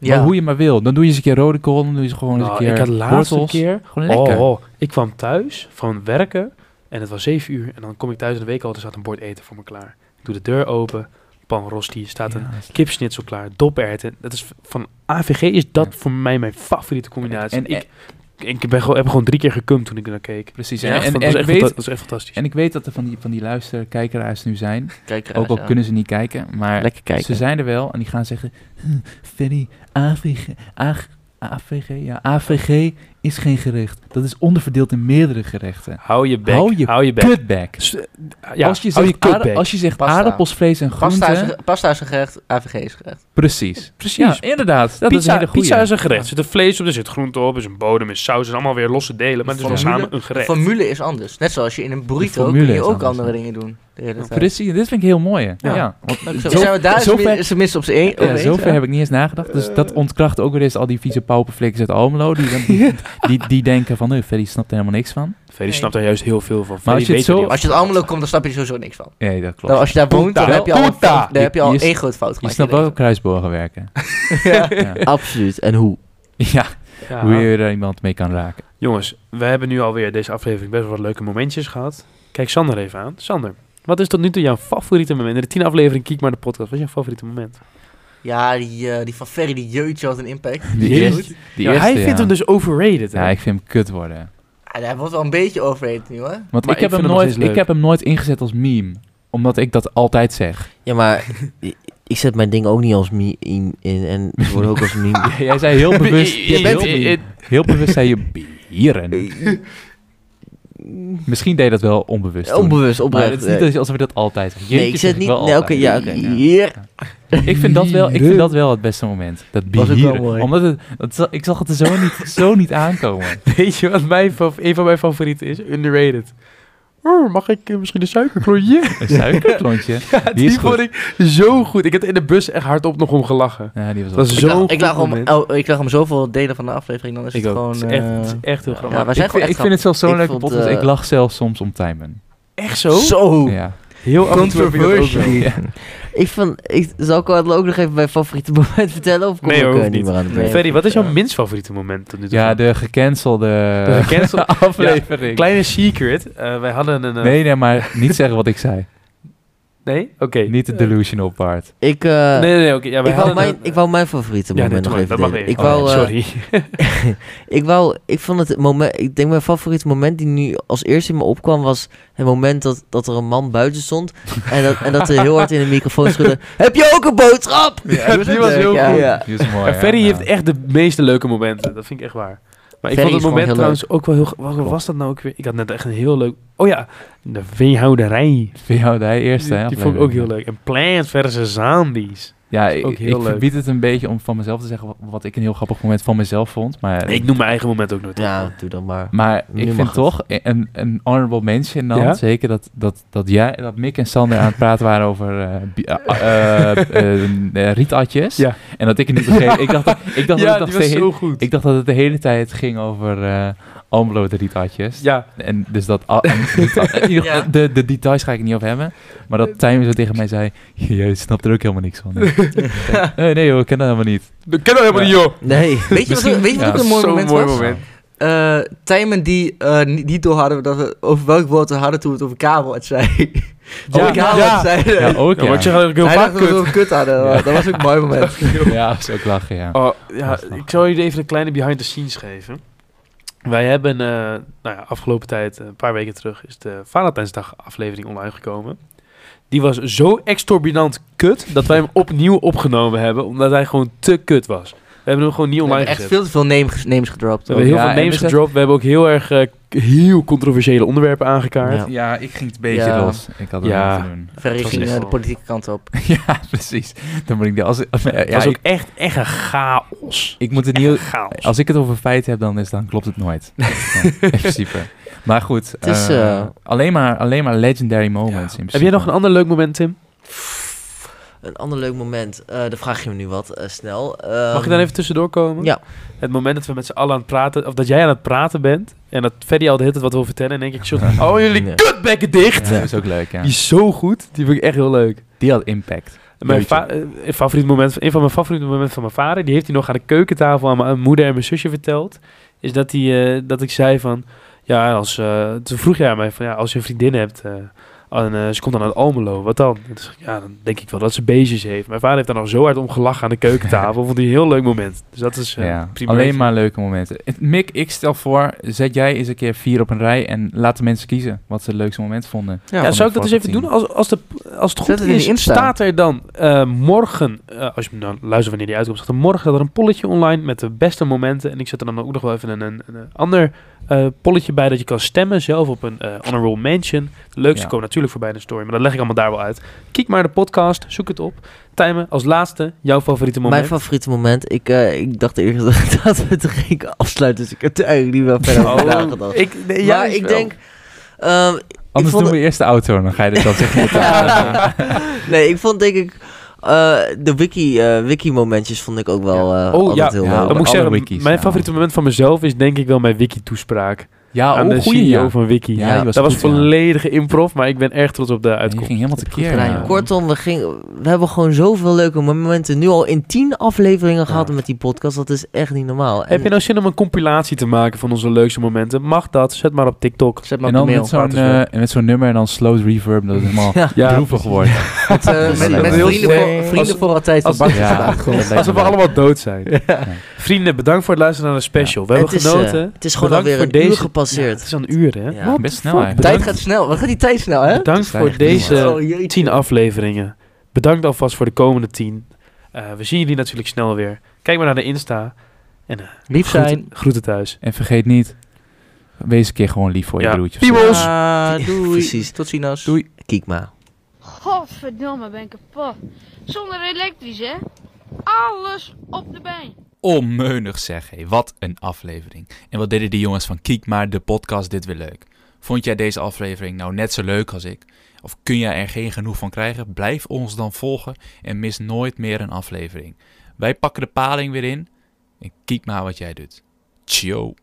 Ja.
Maar hoe je maar wil. Dan doe je eens een keer rode kool, dan doe je ze gewoon eens
Nou,
een keer
ik had laatst een
wortels.
keer...
Gewoon lekker.
Oh, oh, ik kwam thuis van werken en het was 7 uur. En dan kom ik thuis in de week al, er staat een bord eten voor me klaar. Ik doe de deur open, pan rosti, er staat een
Ja,
kipsnitsel klaar, doperwten. Dat is v- van AVG is dat voor mij mijn favoriete combinatie.
En-
En, ik, ik ben gewoon, heb gewoon drie keer gekumd toen ik er naar keek.
precies.
Ja,
En,
echt,
en,
dat,
en
was
ik
echt fanta-
weet,
dat was echt fantastisch.
en ik weet dat er van die, van die luisterkijkeraars nu zijn.
Kijk,
Ook al
ja.
kunnen ze niet kijken, maar
Lekker kijken.
ze zijn er wel. En die gaan zeggen, "Huh, Ferry, AVG, AG AVG, ja, AVG is geen gerecht. Dat is onderverdeeld in meerdere gerechten.
hou je bek,
Hou je
bek.
Kutback.
S- Ja,
als je
hou je
zegt,
kut
aarda-
bek.
als je zegt
Pasta.
aardappelsvlees en
Pasta is,
groenten...
een- pasta is een gerecht, AVG is een gerecht.
Precies.
Precies.
Ja, inderdaad. Dat is een
pizza,
hele goeie.
pizza is een gerecht. Er zit er vlees op, er zit groente op, er is een bodem, er is saus, er zijn allemaal weer losse delen. Maar het is wel
Formule-
samen een
De
gerecht.
formule is anders. Net zoals je in een
De
burrito
formule
kun je
is
ook
anders,
andere
ja.
dingen doen. De hele tijd.
Precies, dit vind ik heel mooi. Ja.
Ja.
want
Nou,
zo-
zo- zijn we daar
zover-
zover, tenminste op z'n één.
ja,
op eens,
zover
ja.
heb ik niet eens nagedacht. Dus dat ontkracht ook weer eens al die vieze pauperflikkers uit Almelo. Die, dan- die, die, die denken van, nee, Ferry snapt er helemaal niks van.
Freddy snapt daar juist heel veel van. Freddy
als je het
weet er
zo-
heel
Als je het allemaal loopt, komt, dan snap je er sowieso niks van.
Nee, dat klopt.
Nou, als je daar woont, dan
Puta.
heb je al, een
Puta.
fout- dan heb je al
Je- je
één groot fout
je
gemaakt.
snapt wel hoe kruisbogen werken.
Ja.
Ja.
Absoluut. En hoe?
Ja,
Ja.
hoe je er iemand mee kan raken.
Jongens, we hebben nu alweer deze aflevering best wel wat leuke momentjes gehad. Kijk Sander even aan. Sander, wat is tot nu toe jouw favoriete moment? In de tiende aflevering Kiek maar de podcast. Wat is jouw favoriete moment?
Ja, die, eh, die van Ferry, die jeutje had een impact.
Die
Jeetje.
eerste, die
Ja,
eerste,
hij vindt
ja.
hem dus overrated. hè?
Ja, ik vind hem kut worden.
Ja, Ah, daar wordt wel een beetje overheen nu, hoor.
Want
Maar
ik, heb
ik vind
hem
hem nog
nooit,
steeds leuk.
ik heb hem nooit ingezet als meme. Omdat ik dat altijd zeg.
Ja, maar i- ik zet mijn ding ook niet als meme in, in en het wordt ook als meme.
Jij zei heel bewust...
Je bent-
heel, be- heel bewust zei je bieren. Misschien deed je dat wel onbewust toen.
Onbewust,
Maar het
oprecht.
is niet
eh.
als- alsof we dat altijd zeggen.
Nee,
Jeetje
ik
zeg
zet niet...
wel
Nee, oké,
altijd.
ja, oké.
Ja.
Hier.
Ik vind dat wel, ik vind dat wel het beste moment. Dat
Was ook wel
bieren.
mooi.
Omdat het, het za- ik zag het er zo niet, zo niet aankomen.
Weet je wat mijn, fa- een van mijn favorieten is? Underrated. Oh, mag ik eh, misschien een suikerklontje?
Een suikerklontje.
Ja, die
is goed.
vond ik zo goed. Ik heb er in de bus echt hardop nog om gelachen.
Ja, die was wel
Dat is
Ik
zo'n
lag, ik,
goed
lag om,
moment.
el- ik lag om zoveel delen van de aflevering, dan is
Ik
het
ook.
gewoon...
Het is echt,
eh,
het is echt heel grappig.
ja, wij zijn gewoon
ik vind,
echt
ik vind het zelfs zo'n
Ik
leuke
vond,
podcast.
eh,
ik lach zelfs soms om timen.
echt zo?
Zo!
Ja.
Heel af en toe heb ik dat ook wel.
Ik vond... Ik, zal ik wel ook nog even mijn favoriete moment vertellen? Of kom
Nee,
ik
hoor,
eh,
hoeft
niet meer aan de
Nee.
beurt?
Ferry, wat is jouw
Ja.
minst favoriete moment tot nu toe?
ja, de gecancelde
De gecancelde-
aflevering.
Kleine secret. Eh, wij hadden een... eh,
Nee, nee, maar niet zeggen wat ik zei.
Nee? Oké.
Niet de delusional part.
Ik... eh,
Nee, nee, nee. oké. Ja, wij
ik wou,
hadden
mijn,
een-
ik wou mijn favoriete
Ja, nee,
moment
doe
nog
maar,
even
dat mag
delen.
niet.
Ik wou,
Oh,
eh,
sorry.
ik wou, ik vond het moment, ik denk mijn favoriete moment die nu als eerste in me opkwam was het moment dat, dat er een man buiten stond en dat, en dat er heel hard in de microfoon schudde, heb je ook een boodschap?
Ja, die was heel
Ja.
goed.
Ja.
Die is mooi.
En
hè?
Ferry
Ja.
heeft echt de meeste leuke momenten. Dat vind ik echt waar. Maar ik
Ferry
vond het
is gewoon
moment
heel
trouwens ook wel heel... ge- Wat
Klopt.
was dat nou ook weer? Ik had net echt een heel leuk... Oh ja, de veehouderij.
Voor jou de eerste, hè,
die, die vond ik ook heel
aflevering.
leuk. En Plants vs. Zombies.
Ja,
is ook
ik,
heel
ik
leuk.
verbied het een beetje om van mezelf te zeggen wat, wat ik een heel grappig moment van mezelf vond. Maar
Ik noem mijn eigen moment ook nooit.
Ja, doe dan maar.
Maar
Nu
ik
mag
vind
het.
toch e- een, een honorable mention dan,
Ja?
zeker dat, dat, dat jij dat Mick en Sander aan het praten waren over eh bi- eh, eh, eh, eh, rietatjes.
Ja.
En dat ik het niet begreep. Ik dacht, dat- ik dacht,
ja, die
dat, het nog
was
steeds-
zo goed.
ik dacht dat het de hele tijd ging over eh Almelo de rietatjes.
ja,
En dus dat... al- en rieta- in ieder geval,
Ja.
de, de details ga ik niet over hebben. Maar dat Tijmen zo tegen mij zei... Jij snapt er ook helemaal niks van. nee, nee joh, ik ken dat helemaal niet.
dat kennen we helemaal
Ja.
niet, joh.
Nee.
Weet je wat,
Misschien-
weet je wat
Ja.
ook een mooi
Zo'n
moment
mooi
was?
moment.
eh Tijmen die eh, niet niet doorhadden dat we over welk woord we hadden toen we het over kabel het zei.
Ja,
Oh,
over kabel
Oh, ja.
het zei.
Ja, ook
Ja, maar
ja.
ik zeg eigenlijk heel
Hij
vaak
dacht dat we
kut.
het over kut hadden.
Ja.
Dat was ook een mooi moment.
Ja, dat is ook lachen, ja.
Oh, ja,
Dat is nog-
ik zal jullie even een kleine behind the scenes geven. Wij hebben eh, nou ja, afgelopen tijd, eh, een paar weken terug, is de Valentijnsdag aflevering online gekomen. Die was zo exorbitant kut dat wij hem opnieuw opgenomen hebben, omdat hij gewoon te kut was. We hebben hem gewoon niet
We
online
hebben echt
gezet.
veel te veel names, names gedropt.
We hebben heel
Ja, en
veel names
we zetten-
gedropt. We hebben ook heel erg eh, k- heel controversiële onderwerpen aangekaart.
Ja.
Ja, ik ging het beetje
Ja.
los. Ik had het
Ja.
moeten doen.
Verre
Dat
ging
was
eh,
echt-
de politieke kant op.
ja, precies. Dan moet ik... de- Als, als-
Het
ja,
was ook
ik,
echt, echt een chaos.
ik moet het
Echt
niet...
chaos.
Als ik het over feiten heb, dan, is, dan klopt het nooit. Ja, in principe. Maar goed,
Het is,
eh,
eh,
alleen, maar, alleen maar legendary moments in
Heb jij nog een
principe.
ander leuk moment, Tim?
Een ander leuk moment. Eh dan vraag je me nu wat eh, snel.
Mag ik
Ehm,
dan even tussendoor komen?
Ja.
Het moment dat we met z'n allen aan het praten, of dat jij aan het praten bent, en dat Ferdy al de hele tijd wat wil vertellen, en denk ik, "Sjoerd, oh jullie
Nee.
kutbekken dicht!
Ja, dat is ook leuk, ja.
Die is zo goed, die vind ik echt heel leuk.
Die had impact.
Mijn
Jeetje.
fa- eh, een favoriet moment, een van mijn favoriete momenten van mijn vader, die heeft hij nog aan de keukentafel aan mijn moeder en mijn zusje verteld, is dat, hij, eh, dat ik zei van, ja, als, eh, toen vroeg jij aan mij van, ja, als je een vriendin hebt, eh, en eh, ze komt dan uit Almelo, wat dan? En toen zeg ik, ja, dan denk ik wel dat ze beestjes heeft. Mijn vader heeft daar nog zo hard om gelachen aan de keukentafel, vond hij een heel leuk moment. Dus dat is eh,
ja.
prima.
Alleen maar leuke momenten. Het- Mick, ik stel voor, zet jij eens een keer vier op een rij en laat de mensen kiezen wat ze het leukste moment vonden.
Ja,
Ja,
van
zou ik
de
dat eens even
vorige
doen? Als, als, de, als het goed
het in de
is,
Insta.
staat er dan eh, morgen, eh, als je nou, luistert wanneer die uitkomt, staat er morgen staat er een polletje online met de beste momenten. En ik zet er dan ook nog wel even een, een, een ander eh, polletje bij dat je kan stemmen zelf op een eh, honorable mention. De leukste
Ja.
komen natuurlijk voorbij in de story, maar dat leg ik allemaal daar wel uit. Kijk maar de podcast, zoek het op. Tijmen, als laatste, jouw favoriete moment.
Mijn favoriete moment. Ik, eh, ik dacht eerst dat- dat we het er gingen afsluiten. Dus ik heb er eigenlijk niet wel verder over
Oh,
nagedacht.
ik, nee, ja,
maar
is
ik
wel.
denk... ehm,
Anders
vond
doen we eerst de auto en dan ga je dit dan zeggen.
nee, ik vond denk ik... eh, de wiki, eh, wiki-momentjes vond ik ook wel eh
Oh,
altijd
ja.
heel
Ja,
Dan
leuk.
moet ik
alle
zeggen,
wikis,
mijn
ja.
favoriete moment van mezelf is denk ik wel mijn wiki-toespraak.
Ja,
aan
oh,
de
goeie,
CEO
ja.
van Wiki.
Ja,
Ja,
die was
dat was
goed, ja.
volledige improv, maar ik ben erg trots op de
Ja, die
uitkomst.
ging helemaal te keer.
gedaan,
ja.
joh.
Kortom, we, gingen, we hebben gewoon zoveel leuke momenten. Nu al in tien afleveringen gehad met die podcast. Dat is echt niet normaal. En
Heb je nou zin om een compilatie te maken van onze leukste momenten? Mag dat? Zet maar op TikTok.
Zet maar
En
op de
dan
mail. dus
met zo'n,
Laten we-
eh, en met zo'n nummer en dan slow reverb, dat het helemaal
Ja.
Ja,
droevig wordt.
Met, eh, met-
Precies.
met
Heel
vrienden,
slecht.
voor, vrienden
Als-
voor altijd.
als-
Als, als,
Ja.
ja.
Alsof we allemaal dood zijn. Vrienden, bedankt voor het luisteren naar de special. We hebben
het, is, eh,
genoten.
het is gewoon
Bedankt
alweer een
voor
uur
deze- Ja,
gepasseerd.
het is al een uur, hè?
Ja.
What
Best
the
snel
fuck?
eigenlijk.
Tijd
Bedankt,
gaat snel. Wat gaat die tijd snel, hè?
bedankt
Het is
voor
eigenlijk niet
deze
Oh, jeetje.
tien afleveringen. Bedankt alvast voor de komende tien. Eh, we zien jullie natuurlijk snel weer. Kijk maar naar de Insta.
Lief
Groeten,
zijn.
groeten thuis.
En vergeet niet, wees een keer gewoon lief voor je
Ja.
broertjes.
Piemels!
Ah, doei.
Precies.
Tot ziens.
Doei.
Kijk maar.
Godverdomme, ben ik kapot. Zonder elektrisch, hè? Alles op de been.
Onmeunig zeg, hé. Wat een aflevering. En wat deden die jongens van Kiek maar de podcast dit weer leuk. Vond jij deze aflevering nou net zo leuk als ik? Of kun jij er geen genoeg van krijgen? Blijf ons dan volgen en mis nooit meer een aflevering. Wij pakken de paling weer in en kiek maar wat jij doet. Ciao.